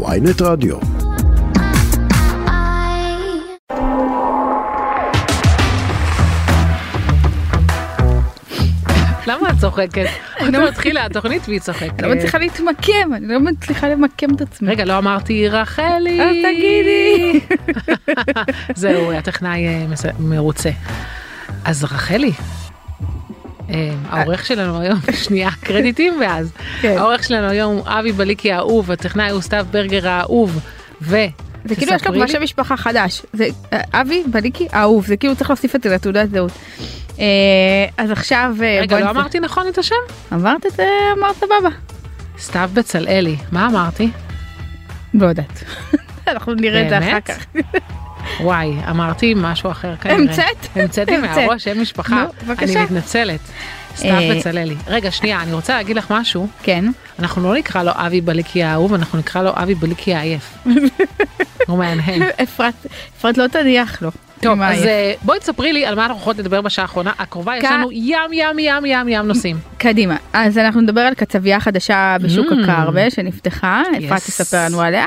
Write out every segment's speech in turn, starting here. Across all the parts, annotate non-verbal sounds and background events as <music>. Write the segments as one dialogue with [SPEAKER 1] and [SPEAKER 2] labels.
[SPEAKER 1] ויינט רדיו.
[SPEAKER 2] למה את צוחקת? עוד לא התחילה התוכנית והיא צוחקת.
[SPEAKER 3] אני לא מצליחה להתמקם, אני לא מצליחה למקם את עצמי.
[SPEAKER 2] אה, רגע, לא אמרתי רחלי.
[SPEAKER 3] אז תגידי.
[SPEAKER 2] זהו, הטכנאי אה, מס- מרוצה. אז רחלי, אה, העורך שלנו היום, <laughs> שנייה, קרדיטים ואז.
[SPEAKER 3] <laughs> כן.
[SPEAKER 2] העורך שלנו היום הוא אבי בליקי האהוב, הטכנאי הוא סתיו ברגר האהוב, ו...
[SPEAKER 3] זה כאילו יש לו
[SPEAKER 2] תספרי
[SPEAKER 3] כבר
[SPEAKER 2] לי-
[SPEAKER 3] שם משפחה חדש. זה אה, אבי בליקי אהוב, זה כאילו צריך להוסיף את זה לתעודת זהות. אה, אז עכשיו... אה,
[SPEAKER 2] רגע,
[SPEAKER 3] בואי
[SPEAKER 2] לא
[SPEAKER 3] נס-
[SPEAKER 2] אמרתי נכון את השם?
[SPEAKER 3] אמרת את זה, אמרת סבבה.
[SPEAKER 2] סתיו בצלאלי, מה אמרתי?
[SPEAKER 3] לא יודעת. <laughs> אנחנו נראה את זה אחר
[SPEAKER 2] באמת?
[SPEAKER 3] כך.
[SPEAKER 2] וואי, אמרתי משהו אחר כנראה.
[SPEAKER 3] המצאת?
[SPEAKER 2] המצאתי
[SPEAKER 3] המצאת.
[SPEAKER 2] מהראש, אין משפחה.
[SPEAKER 3] נו, בבקשה.
[SPEAKER 2] אני מתנצלת. סתיו
[SPEAKER 3] אה,
[SPEAKER 2] בצלאלי. רגע, שנייה, אני רוצה להגיד לך משהו.
[SPEAKER 3] כן.
[SPEAKER 2] אנחנו לא נקרא לו אבי בליקי האהוב, אנחנו נקרא לו אבי בליקי
[SPEAKER 3] <laughs>
[SPEAKER 2] העייף. הוא מהנהן.
[SPEAKER 3] אפרת, אפרת לא תניח לו.
[SPEAKER 2] טוב,
[SPEAKER 3] מה
[SPEAKER 2] אז
[SPEAKER 3] יהיה?
[SPEAKER 2] אה, בואי תספרי לי על מה אנחנו הולכות לדבר בשעה האחרונה. הקרובה יש
[SPEAKER 3] כ-
[SPEAKER 2] לנו ים, ים, ים, ים, ים נושאים.
[SPEAKER 3] קדימה. אז אנחנו נדבר על קצבייה חדשה בשוק
[SPEAKER 2] Mm.
[SPEAKER 3] הכרמל שנפתחה, אפרת
[SPEAKER 2] Yes.
[SPEAKER 3] תספר לנו עליה,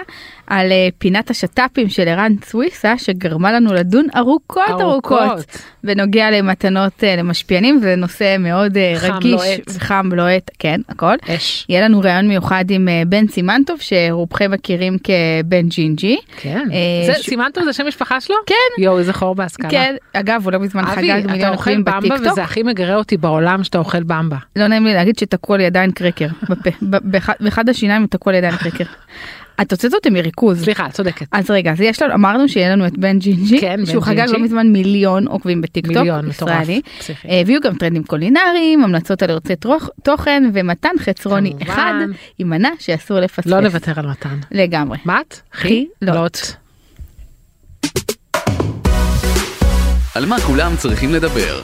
[SPEAKER 3] על אה, פינת השת"פים של ערן סוויסה שגרמה לנו לדון ארוכות ארוכות. בנוגע למתנות אה, למשפיענים זה נושא מאוד אה,
[SPEAKER 2] חם,
[SPEAKER 3] רגיש
[SPEAKER 2] לוהט.
[SPEAKER 3] וחם לוהט כן הכל.
[SPEAKER 2] אש.
[SPEAKER 3] יהיה לנו ראיון מיוחד עם אה, בן סימנטוב שרובכם מכירים כבן ג'ינג'י.
[SPEAKER 2] כן.
[SPEAKER 3] אה,
[SPEAKER 2] זה-
[SPEAKER 3] ש-
[SPEAKER 2] סימנתם את השם משפחה שלו?
[SPEAKER 3] כן.
[SPEAKER 2] יואו, איזה חור בהשכלה.
[SPEAKER 3] כן אגב הוא לא מזמן חגג
[SPEAKER 2] אבי, אתה
[SPEAKER 3] מיליון
[SPEAKER 2] אוכל
[SPEAKER 3] עוקבים
[SPEAKER 2] במבה
[SPEAKER 3] בטיקטוק
[SPEAKER 2] וזה הכי מגרה אותי בעולם שאתה אוכל במבה.
[SPEAKER 3] לא נעים לי להגיד שתקעו לי עדיין קרקר בפה ב- באחד- באחד השיניים תקעו לי עדיין קרקר. את הוצאת אותי מריכוז.
[SPEAKER 2] סליחה, את צודקת.
[SPEAKER 3] אז רגע אז יש לנו אמרנו שיהיה לנו את בן ג'ינג'י
[SPEAKER 2] כן, בן
[SPEAKER 3] שהוא חגג
[SPEAKER 2] ג'ינג'י.
[SPEAKER 3] לא מזמן מיליון עוקבים בטיקטוק
[SPEAKER 2] מיליון, מטורף.
[SPEAKER 3] ישראלי אה,
[SPEAKER 2] פסיכי.
[SPEAKER 3] הביאו גם טרנדים קולינריים, המלצות על ערוצי תרוך- תוכן ומתן חצרוני
[SPEAKER 2] כמובן.
[SPEAKER 3] אחד עם מנה שאסור לפספס.
[SPEAKER 2] לא נוותר על מתן.
[SPEAKER 3] לגמרי.
[SPEAKER 2] מה את?
[SPEAKER 3] חילות.
[SPEAKER 4] על מה כולם צריכים לדבר.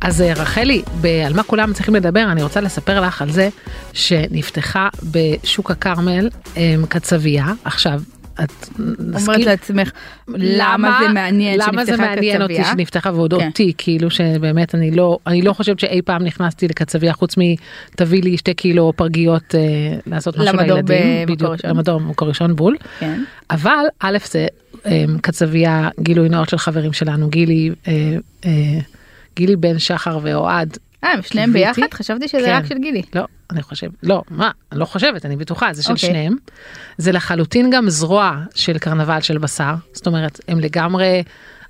[SPEAKER 2] אז אה, רחלי, ב- על מה כולם צריכים לדבר, אני רוצה לספר לך על זה שנפתחה בשוק הכרמל אה, קצבייה. עכשיו, את
[SPEAKER 3] אומרת
[SPEAKER 2] נסכים...
[SPEAKER 3] לעצמך, למה זה מעניין
[SPEAKER 2] למה זה
[SPEAKER 3] שנפתחה
[SPEAKER 2] מעניין אותי
[SPEAKER 3] קצבייה?
[SPEAKER 2] שנפתחה ועוד
[SPEAKER 3] כן.
[SPEAKER 2] אותי, כאילו שבאמת אני לא, אני לא חושבת שאי פעם נכנסתי לקצבייה חוץ מתביא לי שתי קילו פרגיות אה, לעשות משהו
[SPEAKER 3] למדור
[SPEAKER 2] לילדים.
[SPEAKER 3] במקור
[SPEAKER 2] בדיוק,
[SPEAKER 3] ראשון.
[SPEAKER 2] למדור במקור ראשון בול.
[SPEAKER 3] כן.
[SPEAKER 2] אבל א' זה אה, קצבייה גילוי נאות של חברים שלנו גילי אה, אה, גילי בן שחר ואוהד.
[SPEAKER 3] אה, הם שניהם
[SPEAKER 2] קיוויתי.
[SPEAKER 3] ביחד? חשבתי שזה
[SPEAKER 2] כן.
[SPEAKER 3] רק של גילי.
[SPEAKER 2] לא אני חושב לא מה אני לא חושבת אני בטוחה זה של
[SPEAKER 3] אוקיי.
[SPEAKER 2] שניהם. זה לחלוטין גם זרוע של קרנבל של בשר זאת אומרת הם לגמרי.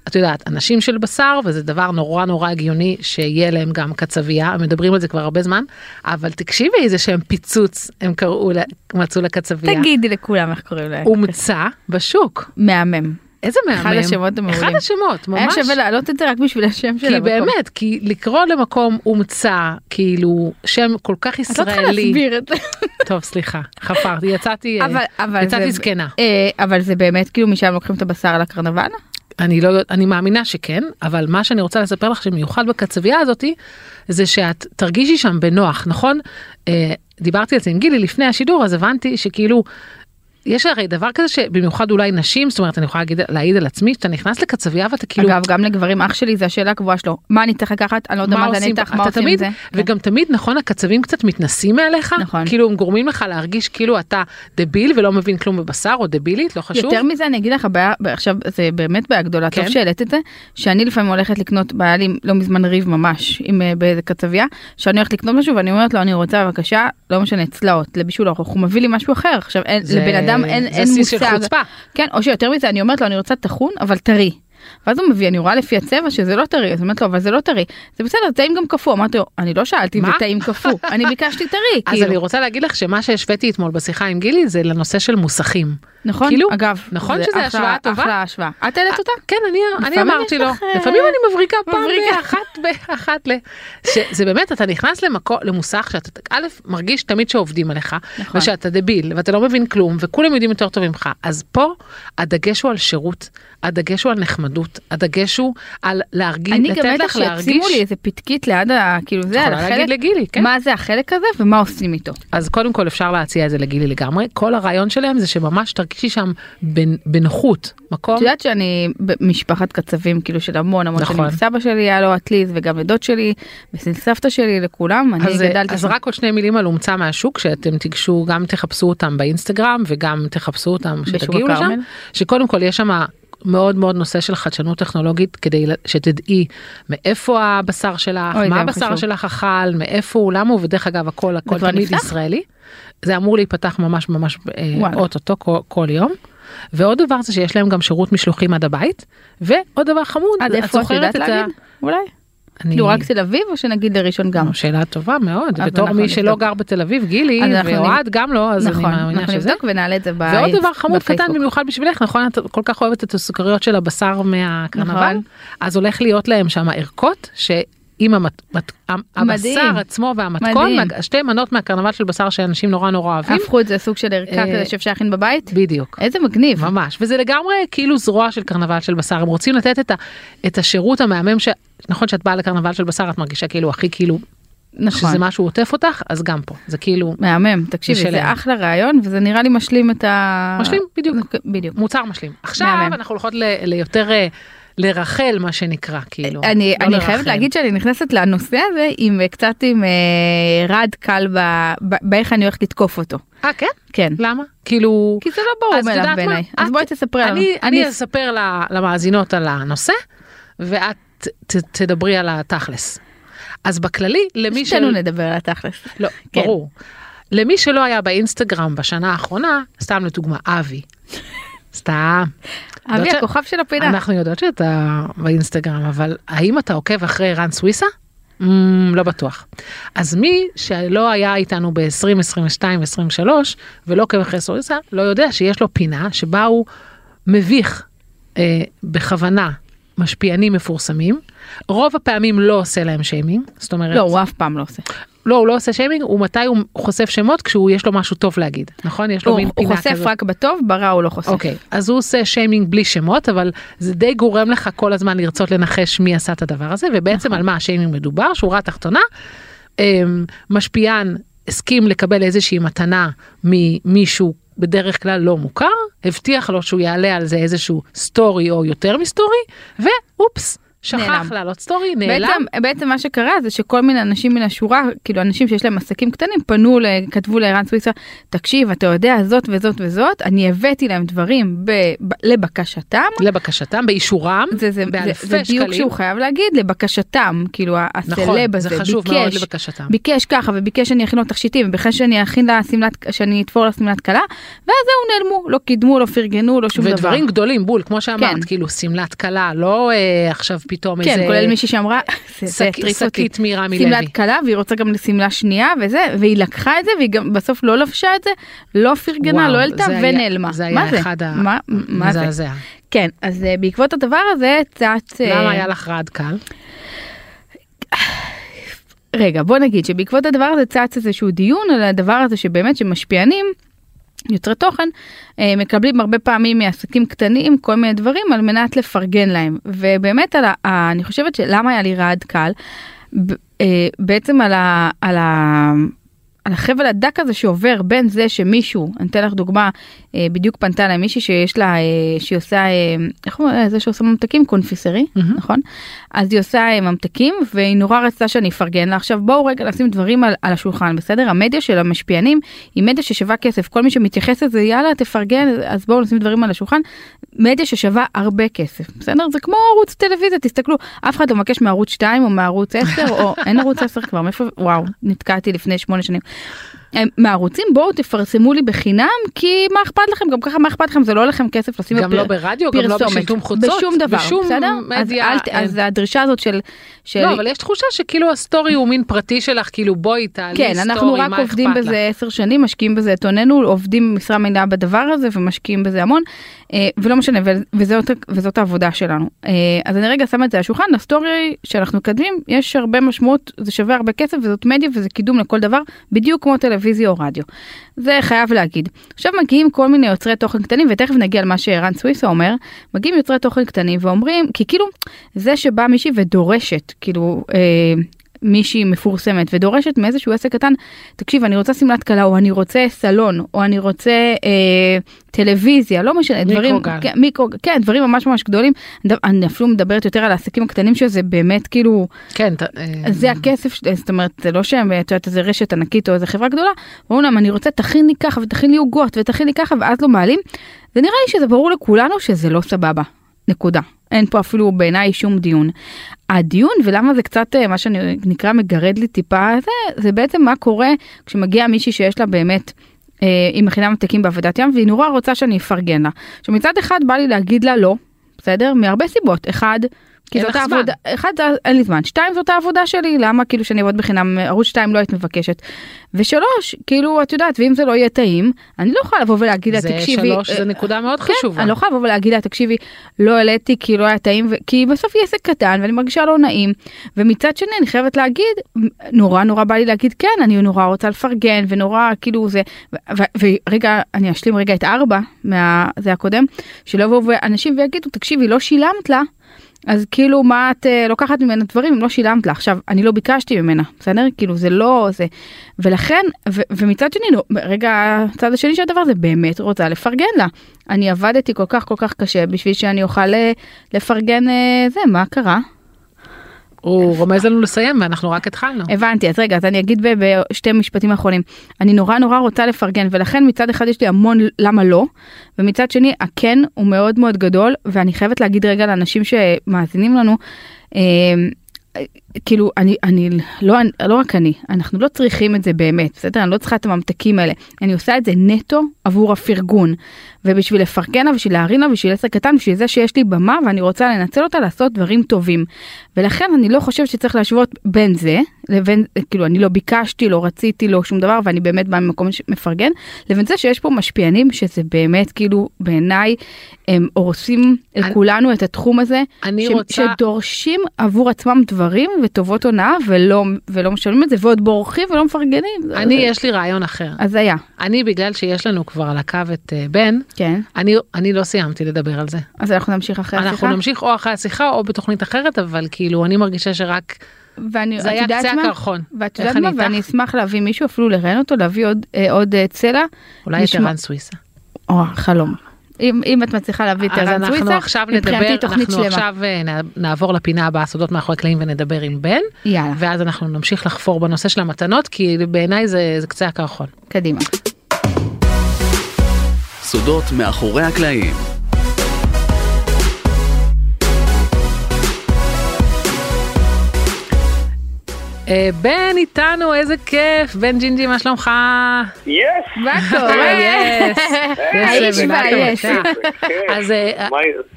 [SPEAKER 2] את יודעת אנשים של בשר וזה דבר נורא נורא הגיוני שיהיה להם גם קצבייה הם מדברים על זה כבר הרבה זמן אבל תקשיבי איזה שהם פיצוץ הם קראו לה- מצאו לקצבייה.
[SPEAKER 3] תגידי לכולם איך קוראים להם.
[SPEAKER 2] הומצא בשוק.
[SPEAKER 3] מהמם.
[SPEAKER 2] איזה מהמם.
[SPEAKER 3] אחד השמות המעולים.
[SPEAKER 2] אחד השמות,
[SPEAKER 3] היה
[SPEAKER 2] ממש.
[SPEAKER 3] שווה להעלות את זה רק בשביל השם של
[SPEAKER 2] כי
[SPEAKER 3] המקום.
[SPEAKER 2] באמת, כי לקרוא למקום הומצא, כאילו, שם כל כך
[SPEAKER 3] את לא צריכה
[SPEAKER 2] ישראלי.
[SPEAKER 3] להסביר את זה.
[SPEAKER 2] טוב, סליחה, חפרתי, יצאתי, אה,
[SPEAKER 3] אבל- אבל
[SPEAKER 2] יצאתי
[SPEAKER 3] זה-
[SPEAKER 2] זקנה.
[SPEAKER 3] אה, אבל זה באמת כאילו משם לוקחים את הבשר לקרנבל?
[SPEAKER 2] אני לא יודעת, אני מאמינה שכן, אבל מה שאני רוצה לספר לך שמיוחד בקצבייה הזאתי, זה שאת תרגישי שם בנוח, נכון? אה, דיברתי על זה עם גילי לפני השידור, אז הבנתי שכאילו, יש הרי דבר כזה שבמיוחד אולי נשים, זאת אומרת, אני יכולה להגיד, להעיד על עצמי, שאתה נכנס לקצבייה ואתה כאילו,
[SPEAKER 3] אגב, גם לגברים, אח שלי, זו השאלה הקבועה שלו. מה אני צריך לקחת? אני לא יודעת מה אני איתך, מה
[SPEAKER 2] אתה
[SPEAKER 3] עושים עם
[SPEAKER 2] תמיד,
[SPEAKER 3] זה? כן.
[SPEAKER 2] וגם תמיד נכון הקצבים קצת מתנסים מעליך,
[SPEAKER 3] נכון.
[SPEAKER 2] כאילו הם גורמים לך להרגיש כאילו אתה דביל ולא מבין כלום בבשר או דבילית, לא חשוב.
[SPEAKER 3] יותר מזה אני אגיד לך הבעיה עכשיו זה באמת בעיה גדולה
[SPEAKER 2] כן.
[SPEAKER 3] טוב שהעלית את זה שאני לפעמים הולכת לקנות בעיה לי לא מזמן ריב ממש עם אה, באיזה כתבייה שאני הולכת לקנות משהו ואני אומרת לו אני רוצה בבקשה לא משנה צלעות לבישול ארוך הוא מביא לי משהו אחר עכשיו אין,
[SPEAKER 2] זה-
[SPEAKER 3] לבן אדם אין,
[SPEAKER 2] זה
[SPEAKER 3] אין
[SPEAKER 2] שיא של
[SPEAKER 3] מושג
[SPEAKER 2] חוצפה.
[SPEAKER 3] כן או שיותר מזה אני אומרת לו אני רוצה טחון אבל טרי. ואז הוא מביא אני רואה לפי הצבע שזה לא טרי אז אני אומרת לו אבל זה לא טרי זה בסדר טעים גם קפוא אמרתי לו אני לא שאלתי אם זה
[SPEAKER 2] מה?
[SPEAKER 3] טעים קפוא אני ביקשתי טרי
[SPEAKER 2] <laughs> אז
[SPEAKER 3] כאילו
[SPEAKER 2] אני רוצה להגיד לך שמה שהשוויתי אתמול בשיחה עם גילי זה לנושא של מוסכים.
[SPEAKER 3] נכון
[SPEAKER 2] כאילו,
[SPEAKER 3] אגב
[SPEAKER 2] נכון
[SPEAKER 3] זה
[SPEAKER 2] שזה
[SPEAKER 3] אחלה-
[SPEAKER 2] השוואה טובה?
[SPEAKER 3] אחלה השוואה את העלית אותה.
[SPEAKER 2] כן, אני, אני
[SPEAKER 3] לפעמים
[SPEAKER 2] אמרתי
[SPEAKER 3] יש
[SPEAKER 2] לו,
[SPEAKER 3] לך, אה,
[SPEAKER 2] לפעמים אני מבריקה פעם
[SPEAKER 3] מבריקה.
[SPEAKER 2] באחת, באחת ל... שזה באמת, אתה נכנס למקו, למוסך שאתה, א', מרגיש תמיד שעובדים עליך,
[SPEAKER 3] נכון.
[SPEAKER 2] ושאתה דביל, ואתה לא מבין כלום, וכולם יודעים יותר טוב ממך. אז פה הדגש הוא על שירות, הדגש הוא על נחמדות, הדגש הוא על להרגיש,
[SPEAKER 3] אני
[SPEAKER 2] לתת
[SPEAKER 3] גם בטח
[SPEAKER 2] לך להרגיש.
[SPEAKER 3] שישימו לי איזה פתקית ליד ה... כאילו זה,
[SPEAKER 2] יכולה
[SPEAKER 3] על
[SPEAKER 2] להגיד
[SPEAKER 3] החלק,
[SPEAKER 2] לגילי, כן.
[SPEAKER 3] מה זה החלק הזה ומה עושים איתו.
[SPEAKER 2] אז קודם כל אפשר להציע את זה לגילי לגמרי. כל הרעיון שלהם זה שממש תרג... תרגישי שם בנ- בנוחות, מקום.
[SPEAKER 3] את יודעת שאני במשפחת קצבים כאילו של המון המון
[SPEAKER 2] נכון.
[SPEAKER 3] שנים. סבא שלי היה לו עתלית וגם לדוד שלי ואצל סבתא שלי לכולם. אני
[SPEAKER 2] אז, אה,
[SPEAKER 3] גדלתי
[SPEAKER 2] אז
[SPEAKER 3] שם.
[SPEAKER 2] רק עוד שני מילים על הומצא מהשוק שאתם תיגשו גם תחפשו אותם באינסטגרם וגם תחפשו אותם
[SPEAKER 3] בשוק
[SPEAKER 2] שתגיעו לשם
[SPEAKER 3] הכרמל.
[SPEAKER 2] שקודם כל יש שם מאוד מאוד נושא של חדשנות טכנולוגית כדי ל- שתדעי מאיפה הבשר שלך
[SPEAKER 3] אוי,
[SPEAKER 2] מה
[SPEAKER 3] גם
[SPEAKER 2] הבשר
[SPEAKER 3] חשוב.
[SPEAKER 2] שלך אכל מאיפה הוא למה הוא ודרך אגב הכל הכל
[SPEAKER 3] כבר
[SPEAKER 2] תמיד
[SPEAKER 3] נפתח?
[SPEAKER 2] ישראלי. זה אמור להיפתח ממש ממש אה,
[SPEAKER 3] וואלה.
[SPEAKER 2] אוטוטו כל, כל יום. ועוד דבר זה שיש להם גם שירות משלוחים עד הבית ועוד דבר חמוד
[SPEAKER 3] עד
[SPEAKER 2] את
[SPEAKER 3] איפה את
[SPEAKER 2] זוכרת ה-
[SPEAKER 3] יודעת להגיד? אולי.
[SPEAKER 2] אני- לא,
[SPEAKER 3] כאילו רק תל אביב או שנגיד לראשון גם?
[SPEAKER 2] נו, שאלה טובה מאוד,
[SPEAKER 3] אז
[SPEAKER 2] בתור
[SPEAKER 3] אנחנו
[SPEAKER 2] מי שלא
[SPEAKER 3] נבדוק.
[SPEAKER 2] גר בתל אביב, גילי,
[SPEAKER 3] אז אנחנו
[SPEAKER 2] ואוהד גם לא, אז אני
[SPEAKER 3] נכון,
[SPEAKER 2] מאמינה
[SPEAKER 3] אנחנו
[SPEAKER 2] שזה.
[SPEAKER 3] נבדוק ונעלה את זה בפייסבוק.
[SPEAKER 2] ועוד דבר חמוד קטן במיוחד בשבילך, נכון? את כל כך אוהבת את הסוכריות של הבשר מהקרנבל,
[SPEAKER 3] נכון.
[SPEAKER 2] אז הולך להיות להם שם ערכות, שעם המת- מת- המ-
[SPEAKER 3] מדהים.
[SPEAKER 2] הבשר עצמו והמתכון,
[SPEAKER 3] מדהים.
[SPEAKER 2] מה- שתי מנות מהקרנבל של בשר שאנשים נורא נורא אוהבים,
[SPEAKER 3] הפכו את זה סוג של ערכה
[SPEAKER 2] אה,
[SPEAKER 3] כזה שאפשר להכין בבית?
[SPEAKER 2] בדיוק.
[SPEAKER 3] איזה מגניב.
[SPEAKER 2] ממש וזה לגמרי כאילו זרוע של קרנבל של בשר הם רוצים לתת את, ה, את השירות המהמם שנכון שאת באה לקרנבל של בשר את מרגישה כאילו הכי כאילו
[SPEAKER 3] נכון.
[SPEAKER 2] שזה משהו עוטף אותך אז גם פה זה כאילו
[SPEAKER 3] מהמם, תקשיבי,
[SPEAKER 2] משלם.
[SPEAKER 3] זה אחלה רעיון וזה נראה לי משלים את ה...
[SPEAKER 2] משלים, בדיוק.
[SPEAKER 3] בדיוק.
[SPEAKER 2] מוצר משלים. עכשיו
[SPEAKER 3] מהמם.
[SPEAKER 2] אנחנו הולכות ל- ליותר אה, לרחל מה שנקרא כאילו.
[SPEAKER 3] אה, אני,
[SPEAKER 2] לא
[SPEAKER 3] אני
[SPEAKER 2] לרחל.
[SPEAKER 3] חייבת להגיד שאני נכנסת לנושא הזה עם אה, קצת עם אה, רעד קל ב, ב, באיך אני הולכת לתקוף אותו.
[SPEAKER 2] אה כן?
[SPEAKER 3] כן.
[SPEAKER 2] למה? כאילו.
[SPEAKER 3] כי זה לא ברור
[SPEAKER 2] אז את
[SPEAKER 3] מאליו
[SPEAKER 2] יודעת
[SPEAKER 3] בעיניי.
[SPEAKER 2] מה?
[SPEAKER 3] אז
[SPEAKER 2] את-
[SPEAKER 3] בואי תספרי לנו.
[SPEAKER 2] אני, אני
[SPEAKER 3] אני-
[SPEAKER 2] אספר ל- למאזינות על הנושא ואת ת, תדברי על התכלס. אז בכללי למי
[SPEAKER 3] שתינו נדבר על התכלס.
[SPEAKER 2] לא,
[SPEAKER 3] כן.
[SPEAKER 2] ברור. למי שלא היה באינסטגרם בשנה האחרונה, סתם לדוגמה
[SPEAKER 3] <laughs>
[SPEAKER 2] אבי. סתם.
[SPEAKER 3] אבי
[SPEAKER 2] יודעת ש-
[SPEAKER 3] הכוכב של הפינה.
[SPEAKER 2] אנחנו יודעות שאתה באינסטגרם, אבל האם אתה עוקב אחרי רן סוויסה? Mm, לא בטוח. אז מי שלא היה איתנו ב-2022-2023 ולא עוקב אחרי סוויסה, לא יודע שיש לו פינה שבה הוא מביך אה, בכוונה משפיענים מפורסמים. רוב הפעמים לא עושה להם שיימינג, זאת אומרת,
[SPEAKER 3] לא, הוא אף פעם לא עושה.
[SPEAKER 2] לא, הוא לא עושה שיימינג, הוא מתי הוא חושף שמות? כשהוא יש לו משהו טוב להגיד, נכון? יש לו
[SPEAKER 3] הוא
[SPEAKER 2] מין
[SPEAKER 3] הוא
[SPEAKER 2] פינה כזאת.
[SPEAKER 3] חושף רק בטוב, ברע הוא לא חושף.
[SPEAKER 2] אוקיי, אז הוא עושה שיימינג בלי שמות, אבל זה די גורם לך כל הזמן לרצות לנחש מי עשה את הדבר הזה, ובעצם
[SPEAKER 3] נכון.
[SPEAKER 2] על מה השיימינג מדובר, שורה תחתונה, אמ, משפיען הסכים לקבל איזושהי מתנה ממישהו בדרך כלל לא מוכר, הבטיח לו שהוא יעלה על זה איזשהו סטורי או יותר מסטורי, ואופס, שכח
[SPEAKER 3] נעלם.
[SPEAKER 2] לעלות סטורי, נעלם.
[SPEAKER 3] בעצם, בעצם מה שקרה זה שכל מיני אנשים מן השורה, כאילו אנשים שיש להם עסקים קטנים, פנו, ל- כתבו לערן סוויסה, תקשיב, אתה יודע זאת וזאת וזאת, אני הבאתי להם דברים ב, ב, לבקשתם,
[SPEAKER 2] לבקשתם, באישורם,
[SPEAKER 3] זה, זה, זה,
[SPEAKER 2] באלפי
[SPEAKER 3] זה דיוק
[SPEAKER 2] שקלים.
[SPEAKER 3] שהוא חייב להגיד, לבקשתם, כאילו ה-
[SPEAKER 2] נכון,
[SPEAKER 3] הסלב הזה,
[SPEAKER 2] זה חשוב
[SPEAKER 3] ביקש,
[SPEAKER 2] מאוד לבקשתם.
[SPEAKER 3] ביקש ככה וביקש שאני אכין לו תכשיטים וביקש שאני אכין לה שמלת, שאני אתפור לה שמלת כלה, ואז זהו נעלמו, לא קידמו, לא פרגנו, לא שום דבר.
[SPEAKER 2] ודברים גדולים בול כמו שאמרת
[SPEAKER 3] כן.
[SPEAKER 2] כאילו שמלת כלה לא אה, עכשיו פתאום
[SPEAKER 3] כן,
[SPEAKER 2] איזה
[SPEAKER 3] כולל מישהי שאמרה, "זה- זה
[SPEAKER 2] שק-
[SPEAKER 3] הטריף אותי.
[SPEAKER 2] שקית מרמי לוי.
[SPEAKER 3] שמלת כלה והיא רוצה גם שמלה שנייה וזה והיא לקחה את זה והיא גם בסוף לא לבשה את זה לא פרגנה
[SPEAKER 2] וואו,
[SPEAKER 3] לא העלתה
[SPEAKER 2] זה היה-
[SPEAKER 3] ונעלמה
[SPEAKER 2] זה
[SPEAKER 3] מה
[SPEAKER 2] היה
[SPEAKER 3] זה
[SPEAKER 2] אחד ה-
[SPEAKER 3] מה- מה זה
[SPEAKER 2] מזעזע.
[SPEAKER 3] כן אז אה, בעקבות הדבר הזה קצת אה,
[SPEAKER 2] למה היה לך רעד קל?
[SPEAKER 3] רגע בוא נגיד שבעקבות הדבר הזה צץ איזשהו דיון על הדבר הזה שבאמת שמשפיענים. יוצרי תוכן אה, מקבלים הרבה פעמים מעסקים קטנים כל מיני דברים על מנת לפרגן להם ובאמת על ה, ה, אני חושבת שלמה היה לי רעד קל ב, אה, בעצם על, ה, על, ה, על החבל הדק הזה שעובר בין זה שמישהו אני אתן לך דוגמה אה, בדיוק פנתה אליי מישהי שיש לה אה, שהיא עושה אה, איך הוא אה, זה שעושה ממתקים קונפיסרי
[SPEAKER 2] מהמם.
[SPEAKER 3] נכון אז היא עושה אה, ממתקים והיא נורא רצתה שאני אפרגן לה עכשיו בואו רגע נשים דברים על, על השולחן בסדר המדיה של המשפיענים היא מדיה ששווה כסף כל מי שמתייחס לזה יאללה תפרגן אז בואו נשים דברים על השולחן מדיה ששווה הרבה כסף בסדר זה כמו ערוץ טלוויזיה תסתכלו אף אחד לא מבקש מערוץ 2 או מערוץ 10 או אין ערוץ 10 כבר מאיפה וואו נתקעתי לפני 8 שנים. הם- אה, מהערוצים בואו תפרסמו לי בחינם כי מה אכפת לכם גם ככה מה אכפת לכם זה לא עולה לכם כסף לשים
[SPEAKER 2] גם
[SPEAKER 3] בפר-
[SPEAKER 2] לא ברדיו, גם לא
[SPEAKER 3] פרסומת,
[SPEAKER 2] בשיתום חוצות,
[SPEAKER 3] בשום דבר,
[SPEAKER 2] בשום
[SPEAKER 3] בסדר?
[SPEAKER 2] מדיה,
[SPEAKER 3] אז, אל, ת-
[SPEAKER 2] אין.
[SPEAKER 3] אז הדרישה הזאת של, של
[SPEAKER 2] לא אבל יש תחושה שכאילו הסטורי הוא מין פרטי שלך כאילו בואי תעלי
[SPEAKER 3] כן,
[SPEAKER 2] סטורי
[SPEAKER 3] אנחנו רק
[SPEAKER 2] מה
[SPEAKER 3] עובדים
[SPEAKER 2] אכפת לך?
[SPEAKER 3] בזה עשר שנים, משקיעים בזה את הוננו, עובדים משרה מלאה בדבר הזה ומשקיעים בזה המון, אה, ולא משנה, ו- וזאת, וזאת העבודה שלנו. אה, אז אני רגע שמה את זה על השולחן, הסטורי שאנחנו מקדמים, יש הרבה משמעות, זה שווה הרבה כסף וזאת מדיה וזה קידום לכל דבר, בדיוק כמו טלוויזיה או רדיו. זה חייב להגיד. עכשיו מגיעים כל מיני יוצרי תוכן קטנים, ותכף נגיע למה שערן סוויסה אומר, מגיעים יוצרי תוכן קטנים ואומרים, כי כאילו, זה שבא מישהי ודורשת, כאילו, אה, מישהי מפורסמת ודורשת מאיזשהו עסק קטן, תקשיב, אני רוצה שמלת כלה, או אני רוצה סלון, או אני רוצה אה, טלוויזיה, לא משנה, דברים,
[SPEAKER 2] מיקרוגל.
[SPEAKER 3] כן, מיקרו, כן, דברים ממש ממש גדולים. אני- אני אפילו מדברת יותר על העסקים הקטנים שזה באמת כאילו,
[SPEAKER 2] כן, ת- אה,
[SPEAKER 3] זה הכסף, ש- זאת אומרת, זה לא שהם, את יודעת, איזה רשת ענקית או איזה חברה גדולה, אומרים להם, אני רוצה, תכין לי ככה ותכין לי עוגות ותכין לי ככה, ואז לא מעלים. זה נראה לי שזה ברור לכולנו שזה לא סבבה, נקודה. אין פה אפילו בעיניי שום דיון. הדיון ולמה זה קצת אה, מה שנקרא מגרד לי טיפה זה, זה בעצם מה קורה כשמגיעה מישהי שיש לה באמת, אה, היא מכינה מתקים בעבודת ים והיא נורא רוצה שאני אפרגן לה. עכשיו מצד אחד בא לי להגיד לה לא, בסדר? מהרבה סיבות. אחד, כי
[SPEAKER 2] אין
[SPEAKER 3] זאת
[SPEAKER 2] לך זמן.
[SPEAKER 3] העבודה, אחד זה אין לי זמן, שתיים זאת העבודה שלי, למה כאילו שאני אעבוד בחינם, ערוץ שתיים לא היית מבקשת. ושלוש, כאילו את יודעת, ואם זה לא יהיה טעים, אני לא יכולה לבוא ולהגיד לה
[SPEAKER 2] זה
[SPEAKER 3] תקשיבי,
[SPEAKER 2] שלוש,
[SPEAKER 3] אה,
[SPEAKER 2] זה נקודה מאוד
[SPEAKER 3] כן,
[SPEAKER 2] חשובה.
[SPEAKER 3] אני לא יכולה לבוא ולהגיד לה, תקשיבי, לא העליתי כי לא היה טעים, ו- כי בסוף היא עסק קטן ואני מרגישה לא נעים. ומצד שני, אני חייבת להגיד, נורא נורא בא לי להגיד, כן, אני נורא רוצה לפרגן, ונורא כאילו זה, ו- ו- ורגע, אני אשלים רגע את ארבע, מה- זה הקודם, שלא יבואו אנשים ויגידו, תקשיבי, לא שילמת לה. אז כאילו מה את אה, לוקחת ממנה דברים אם לא שילמת לה עכשיו אני לא ביקשתי ממנה בסדר כאילו זה לא זה ולכן ו- ומצד שני נו, רגע הצד השני של הדבר זה באמת רוצה לפרגן לה אני עבדתי כל כך כל כך קשה בשביל שאני אוכל אה, לפרגן אה, זה מה קרה
[SPEAKER 2] הוא רומז לנו לסיים ואנחנו רק התחלנו.
[SPEAKER 3] הבנתי אז רגע אז אני אגיד ב- בשתי משפטים האחרונים אני נורא נורא רוצה לפרגן ולכן מצד אחד יש לי המון למה לא ומצד שני הכן הוא מאוד מאוד גדול ואני חייבת להגיד רגע לאנשים שמאזינים לנו. אה, כאילו אני אני לא לא רק אני אנחנו לא צריכים את זה באמת בסדר אני לא צריכה את הממתקים האלה אני עושה את זה נטו עבור הפרגון ובשביל לפרגן לה בשביל להרים לה בשביל עסק קטן בשביל זה שיש לי במה ואני רוצה לנצל אותה לעשות דברים טובים ולכן אני לא חושבת שצריך להשוות בין זה לבין כאילו אני לא ביקשתי לא רציתי לא שום דבר ואני באמת באה ממקום מפרגן לבין זה שיש פה משפיענים שזה באמת כאילו בעיניי הם הורסים
[SPEAKER 2] אני-
[SPEAKER 3] לכולנו את התחום הזה
[SPEAKER 2] אני
[SPEAKER 3] ש-
[SPEAKER 2] רוצה...
[SPEAKER 3] שדורשים עבור עצמם דברים וטובות הונאה ולא, ולא משלמים את זה ועוד בורחים ולא מפרגנים. זה-
[SPEAKER 2] אני,
[SPEAKER 3] זה-
[SPEAKER 2] יש לי רעיון אחר.
[SPEAKER 3] אז היה,
[SPEAKER 2] אני, בגלל שיש לנו כבר על הקו את אה, בן,
[SPEAKER 3] כן.
[SPEAKER 2] אני, אני לא סיימתי לדבר על זה.
[SPEAKER 3] אז אנחנו נמשיך אחרי
[SPEAKER 2] אנחנו
[SPEAKER 3] השיחה.
[SPEAKER 2] נמשיך או אחרי השיחה או בתוכנית אחרת, אבל כאילו, אני מרגישה שרק...
[SPEAKER 3] ואני,
[SPEAKER 2] זה
[SPEAKER 3] את
[SPEAKER 2] היה
[SPEAKER 3] יודעת
[SPEAKER 2] קצה
[SPEAKER 3] מה?
[SPEAKER 2] הקרחון.
[SPEAKER 3] ואת
[SPEAKER 2] איך
[SPEAKER 3] יודעת
[SPEAKER 2] אני
[SPEAKER 3] מה?
[SPEAKER 2] איתך?
[SPEAKER 3] ואני אשמח להביא מישהו, אפילו לראיין אותו, להביא עוד, אה, עוד אה, צלע.
[SPEAKER 2] אולי את
[SPEAKER 3] נשמע-
[SPEAKER 2] ערן סוויסה.
[SPEAKER 3] או, חלום. אם, אם את מצליחה להביא את
[SPEAKER 2] אז
[SPEAKER 3] ערן
[SPEAKER 2] אנחנו
[SPEAKER 3] סוויסה,
[SPEAKER 2] עכשיו
[SPEAKER 3] מבחינתי
[SPEAKER 2] נדבר,
[SPEAKER 3] תוכנית
[SPEAKER 2] אנחנו
[SPEAKER 3] שלמה.
[SPEAKER 2] עכשיו אה, נע- נעבור לפינה הבאה, סודות מאחורי קלעים ונדבר עם בן,
[SPEAKER 3] יאללה,
[SPEAKER 2] ואז אנחנו נמשיך לחפור בנושא של המתנות, כי בעיניי זה זה קצה הקרחון.
[SPEAKER 3] קדימה.
[SPEAKER 4] סודות מאחורי הקלעים.
[SPEAKER 2] אה, בן איתנו, איזה כיף, בן ג'ינג'י, מה שלומך?
[SPEAKER 3] אה,
[SPEAKER 2] אה,
[SPEAKER 1] יס!
[SPEAKER 2] <laughs>
[SPEAKER 3] <laughs> מה אה,
[SPEAKER 2] יס.
[SPEAKER 1] אה,
[SPEAKER 3] האיש
[SPEAKER 2] בן,
[SPEAKER 3] והיש.
[SPEAKER 2] אתה מכה. אז, אה,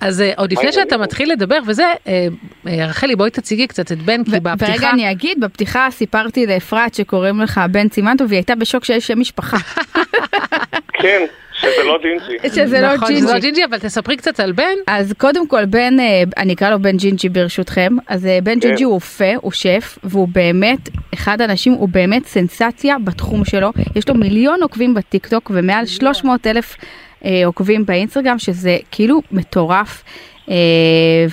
[SPEAKER 2] אז אה, עוד לפני
[SPEAKER 1] מה
[SPEAKER 2] שאתה
[SPEAKER 1] העניינים?
[SPEAKER 2] מתחיל לדבר וזה, אה, אה, רחלי בואי תציגי קצת את בן, כי
[SPEAKER 3] ו- ורגע
[SPEAKER 2] בפתיחה,
[SPEAKER 3] אני אגיד, בפתיחה סיפרתי לאפרת שקוראים לך בן סימנטוב, והיא הייתה בשוק שיש שם משפחה, <laughs>
[SPEAKER 1] כן, שזה לא ג'ינג'י.
[SPEAKER 3] שזה לא
[SPEAKER 2] נכון, זה לא
[SPEAKER 3] ג'ינג'י.
[SPEAKER 2] ג'ינג'י, אבל תספרי קצת על בן,
[SPEAKER 3] אז קודם כל בן, אה, אני אקרא לו בן ג'ינג'י ברשותכם, אז אה, בן
[SPEAKER 1] כן.
[SPEAKER 3] ג'ינג'י הוא אופה, הוא שף, והוא באמת, אחד האנשים, הוא באמת סנסציה בתחום שלו, יש לו מיליון עוקבים בטיקטוק ומעל 300 אלף אה, עוקבים באינסטגרם, שזה כאילו מטורף. אה,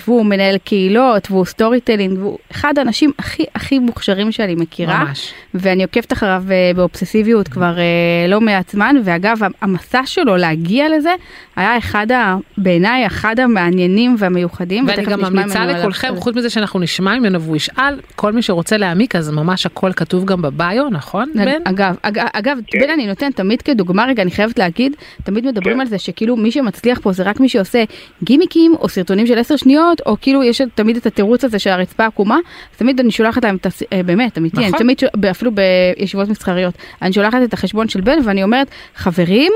[SPEAKER 3] והוא מנהל קהילות והוא סטורי טלינג והוא אחד האנשים הכי הכי מוכשרים שאני מכירה.
[SPEAKER 2] ממש.
[SPEAKER 3] ואני עוקבת אחריו אה, באובססיביות כבר אה, לא מעט זמן, ואגב, ה- המסע שלו להגיע לזה היה אחד, ה- בעיניי, אחד המעניינים והמיוחדים.
[SPEAKER 2] ואני
[SPEAKER 3] ותכף
[SPEAKER 2] גם
[SPEAKER 3] נשמע
[SPEAKER 2] ממליצה
[SPEAKER 3] ממנו עליו.
[SPEAKER 2] לכולכם, חוץ מזה שאנחנו נשמע ממנו והוא ישאל, כל מי שרוצה להעמיק, אז ממש הכל כתוב גם בביו, נכון
[SPEAKER 3] אג-
[SPEAKER 2] בן?
[SPEAKER 3] אגב, אג- אגב,
[SPEAKER 1] כן.
[SPEAKER 3] בן אני נותן תמיד כדוגמה רגע, אני חייבת להגיד, תמיד מדברים
[SPEAKER 1] כן.
[SPEAKER 3] על זה שכאילו מי שמצליח פה זה רק מי שעושה גימיקים או סרטונים של 10 שניות, או כאילו יש תמיד את התירוץ הזה של הרצפה עקומה, אז תמיד אני שולחת להם, את הס- אה, באמת, אמיתי, אני
[SPEAKER 2] נכון.
[SPEAKER 3] תמיד, שול- אפילו בישיבות מסחריות, אני שולחת את החשבון של בן ואני אומרת, חברים,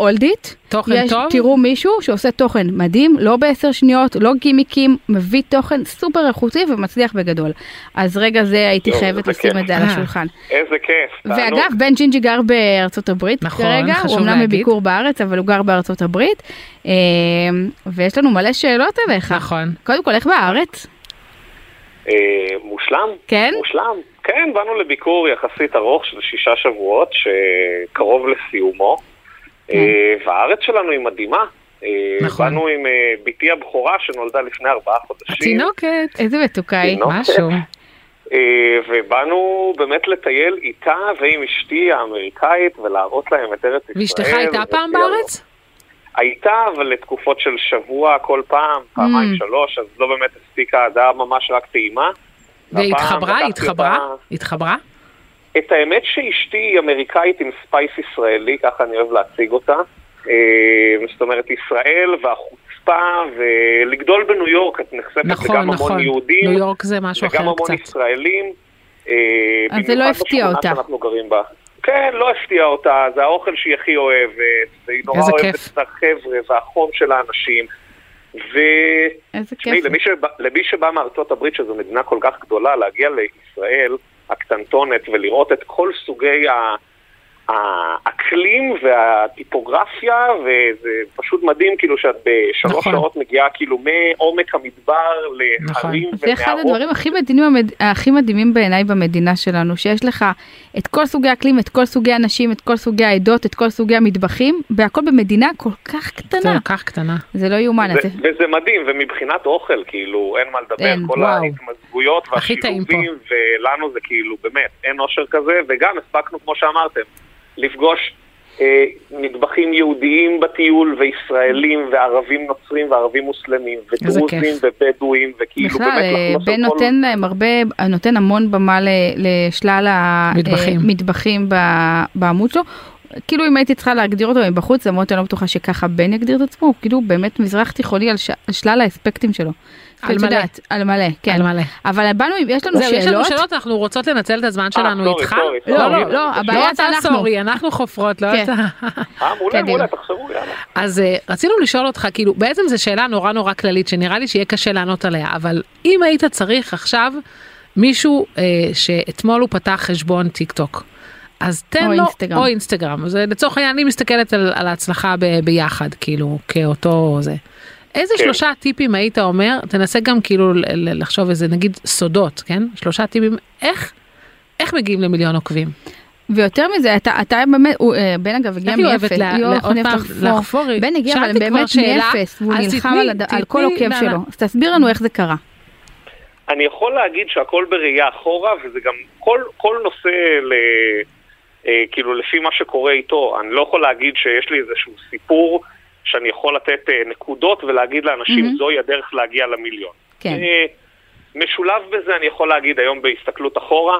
[SPEAKER 3] אולדיט,
[SPEAKER 2] תוכן
[SPEAKER 3] יש,
[SPEAKER 2] טוב?
[SPEAKER 3] תראו מישהו שעושה תוכן מדהים, לא בעשר שניות, לא גימיקים, מביא תוכן סופר איכותי ומצליח בגדול. אז רגע זה הייתי
[SPEAKER 1] יואו,
[SPEAKER 3] חייבת
[SPEAKER 1] לא, זה כן.
[SPEAKER 3] לשים
[SPEAKER 1] כיף.
[SPEAKER 3] את זה על
[SPEAKER 2] אה.
[SPEAKER 3] השולחן.
[SPEAKER 1] איזה כיף. תענוג.
[SPEAKER 3] ואגב, בן ג'ינג'י גר בארצות הברית
[SPEAKER 2] נכון,
[SPEAKER 3] כרגע,
[SPEAKER 2] חשוב
[SPEAKER 3] הוא אמנם
[SPEAKER 2] להגיד.
[SPEAKER 3] בביקור בארץ, אבל הוא גר בארצות הברית, אה, ויש לנו מלא שאלות אליך.
[SPEAKER 2] נכון.
[SPEAKER 3] קודם כל, איך בארץ?
[SPEAKER 1] אה, מושלם.
[SPEAKER 3] כן?
[SPEAKER 1] מושלם. כן, באנו לביקור יחסית ארוך של שישה שבועות, שקרוב לסיומו. אה, והארץ שלנו היא מדהימה. אה,
[SPEAKER 2] כן. נכון.
[SPEAKER 1] באנו עם אה, בתי הבכורה שנולדה לפני ארבעה חודשים.
[SPEAKER 2] התינוקת,
[SPEAKER 3] איזה מתוקה היא.
[SPEAKER 1] תינוק.
[SPEAKER 2] משהו.
[SPEAKER 1] אה, אה, ובאנו באמת לטייל איתה ועם אשתי האמריקאית ולהראות להם את ארץ ישראל.
[SPEAKER 2] ואשתך הייתה פעם
[SPEAKER 1] ותיארנו-
[SPEAKER 2] בארץ?
[SPEAKER 1] הייתה, אבל לתקופות של שבוע כל פעם,
[SPEAKER 2] Mm.
[SPEAKER 1] פעמיים שלוש, אז לא באמת הספיקה, זה היה ממש רק טעימה.
[SPEAKER 2] והיא
[SPEAKER 1] הפעם
[SPEAKER 2] התחברה, היא
[SPEAKER 1] לקחתי
[SPEAKER 2] התחברה,
[SPEAKER 1] אותה-
[SPEAKER 2] היא התחברה.
[SPEAKER 1] את האמת שאשתי היא אמריקאית עם ספייס ישראלי, ככה אני אוהב להציג אותה. אה, זאת אומרת, ישראל והחוצפה, ולגדול בניו יורק, את נחשפת
[SPEAKER 2] נכון,
[SPEAKER 1] גם
[SPEAKER 2] נכון.
[SPEAKER 1] המון יהודים,
[SPEAKER 2] ניו יורק זה משהו אחר
[SPEAKER 1] וגם המון
[SPEAKER 2] קצת.
[SPEAKER 1] ישראלים. אה,
[SPEAKER 3] אז זה לא
[SPEAKER 1] במיוחד
[SPEAKER 3] הפתיע
[SPEAKER 1] בשכונה
[SPEAKER 3] אותה.
[SPEAKER 1] שאנחנו גרים בה. כן, לא הפתיע אותה, זה האוכל שהיא הכי אוהבת, והיא נורא
[SPEAKER 2] איזה
[SPEAKER 1] אוהבת
[SPEAKER 2] כיף.
[SPEAKER 1] את החבר'ה והחום של האנשים. ו...
[SPEAKER 3] איזה כיף.
[SPEAKER 1] תשמעי, למי, שבא- למי שבא מארצות הברית, שזו מדינה כל כך גדולה, להגיע לישראל הקטנטונת ולראות את כל סוגי ה- האקלים והטיפוגרפיה, וזה פשוט מדהים כאילו שאת בשלוש
[SPEAKER 2] נכון.
[SPEAKER 1] שעות מגיעה כאילו מעומק המדבר להרים
[SPEAKER 3] נכון. זה אחד הדברים הכי מדהימים, המד- הכי מדהימים בעיניי במדינה שלנו, שיש לך את כל סוגי האקלים, את כל סוגי הנשים, את כל סוגי העדות, את כל סוגי המטבחים, והכל במדינה כל כך
[SPEAKER 2] זה
[SPEAKER 3] קטנה.
[SPEAKER 2] כל כך קטנה.
[SPEAKER 1] כן.
[SPEAKER 3] זה לא יאומן, אז
[SPEAKER 1] ו-
[SPEAKER 3] זה-
[SPEAKER 1] וזה מדהים, ומבחינת אוכל, כאילו, אין מה לדבר,
[SPEAKER 3] אין,
[SPEAKER 1] כל
[SPEAKER 2] וואו.
[SPEAKER 1] ההתמזגויות
[SPEAKER 2] הכי טעים
[SPEAKER 1] והשילובים, ולנו זה כאילו, באמת, אין אושר כזה, וגם הספקנו, כמו שאמרתם, לפגוש אה, מטבחים יהודיים בטיול, וישראלים, וערבים נוצרים, וערבים מוסלמים,
[SPEAKER 2] איזה
[SPEAKER 1] ודרוזים,
[SPEAKER 2] כיף.
[SPEAKER 1] ובדואים, וכאילו,
[SPEAKER 3] בכלל,
[SPEAKER 1] כאילו, באמת,
[SPEAKER 3] אה,
[SPEAKER 1] לחלוש על
[SPEAKER 3] בן
[SPEAKER 1] כל-
[SPEAKER 3] נותן להם הרבה, נותן המון במה ל- לשלל
[SPEAKER 2] מטבחים.
[SPEAKER 3] המטבחים בעמוד שלו. כאילו אם הייתי צריכה להגדיר אותו מבחוץ, למרות שאני לא בטוחה שככה בן יגדיר את עצמו, הוא כאילו באמת מזרח תיכוני על ש- על שלל האספקטים שלו. כאילו,
[SPEAKER 2] על
[SPEAKER 3] את
[SPEAKER 2] מלא.
[SPEAKER 3] יודעת, על מלא, כן.
[SPEAKER 2] על מלא.
[SPEAKER 3] אבל באנו, עם- יש לנו
[SPEAKER 2] זהו, יש לנו
[SPEAKER 3] שאלות.
[SPEAKER 2] שאלות, אנחנו רוצות לנצל את הזמן שלנו
[SPEAKER 1] סורי,
[SPEAKER 2] איתך.
[SPEAKER 1] סורי,
[SPEAKER 3] לא,
[SPEAKER 1] לא,
[SPEAKER 3] לא,
[SPEAKER 1] לא,
[SPEAKER 3] לא, הבעיה
[SPEAKER 2] לא
[SPEAKER 3] זה
[SPEAKER 2] אתה
[SPEAKER 3] אנחנו.
[SPEAKER 2] סורי, אנחנו חופרות, לא
[SPEAKER 3] כן.
[SPEAKER 2] אתה.
[SPEAKER 1] אה, מעולה,
[SPEAKER 3] קדימה.
[SPEAKER 1] מעולה, תחזרו, יאללה.
[SPEAKER 2] אז אה, רצינו לשאול אותך, כאילו, בעצם זו שאלה נורא נורא כללית, שנראה לי שיהיה קשה לענות עליה, אבל אם היית צריך עכשיו מישהו אה, שאתמול הוא פתח חשבון טיק טוק, אז תן לו,
[SPEAKER 3] או אינסטגרם.
[SPEAKER 2] או אינסטגרם, זה לצורך העניין, אני מסתכלת על, על ההצלחה ב, ביחד, כאילו, כאותו זה. איזה
[SPEAKER 1] כן.
[SPEAKER 2] שלושה טיפים היית אומר, תנסה גם כאילו ל- ל- לחשוב איזה, נגיד, סודות, כן? שלושה טיפים, איך, איך מגיעים למיליון עוקבים?
[SPEAKER 3] ויותר מזה, אתה, אתה באמת, הוא, אה, בן אגב הגיע
[SPEAKER 2] איך היא אוהבת
[SPEAKER 3] מאפס,
[SPEAKER 2] לה-
[SPEAKER 3] יואו,
[SPEAKER 2] לה-
[SPEAKER 3] איך
[SPEAKER 2] עוד
[SPEAKER 3] הוא אוהב
[SPEAKER 2] פעם
[SPEAKER 3] לחפור.
[SPEAKER 2] לחפור? היא-
[SPEAKER 3] בן הגיע אבל
[SPEAKER 2] שאלתי כבר
[SPEAKER 3] באמת
[SPEAKER 2] שאלה,
[SPEAKER 3] מאפס, והוא
[SPEAKER 2] אז
[SPEAKER 3] נלחם
[SPEAKER 2] תתני-
[SPEAKER 3] על, הד... על כל
[SPEAKER 2] תתני-
[SPEAKER 3] עוקב
[SPEAKER 2] לא, לא.
[SPEAKER 3] שלו. אז תסביר לנו איך זה קרה.
[SPEAKER 1] אני יכול להגיד שהכל בראייה אחורה, וזה גם כל, כל נושא, ל, אה, כאילו, לפי מה שקורה איתו, אני לא יכול להגיד שיש לי איזשהו סיפור שאני יכול לתת אה, נקודות ולהגיד לאנשים,
[SPEAKER 3] מהמם.
[SPEAKER 1] mm-hmm. זוהי הדרך להגיע למיליון.
[SPEAKER 3] כן.
[SPEAKER 1] אה, משולב בזה, אני יכול להגיד היום בהסתכלות אחורה,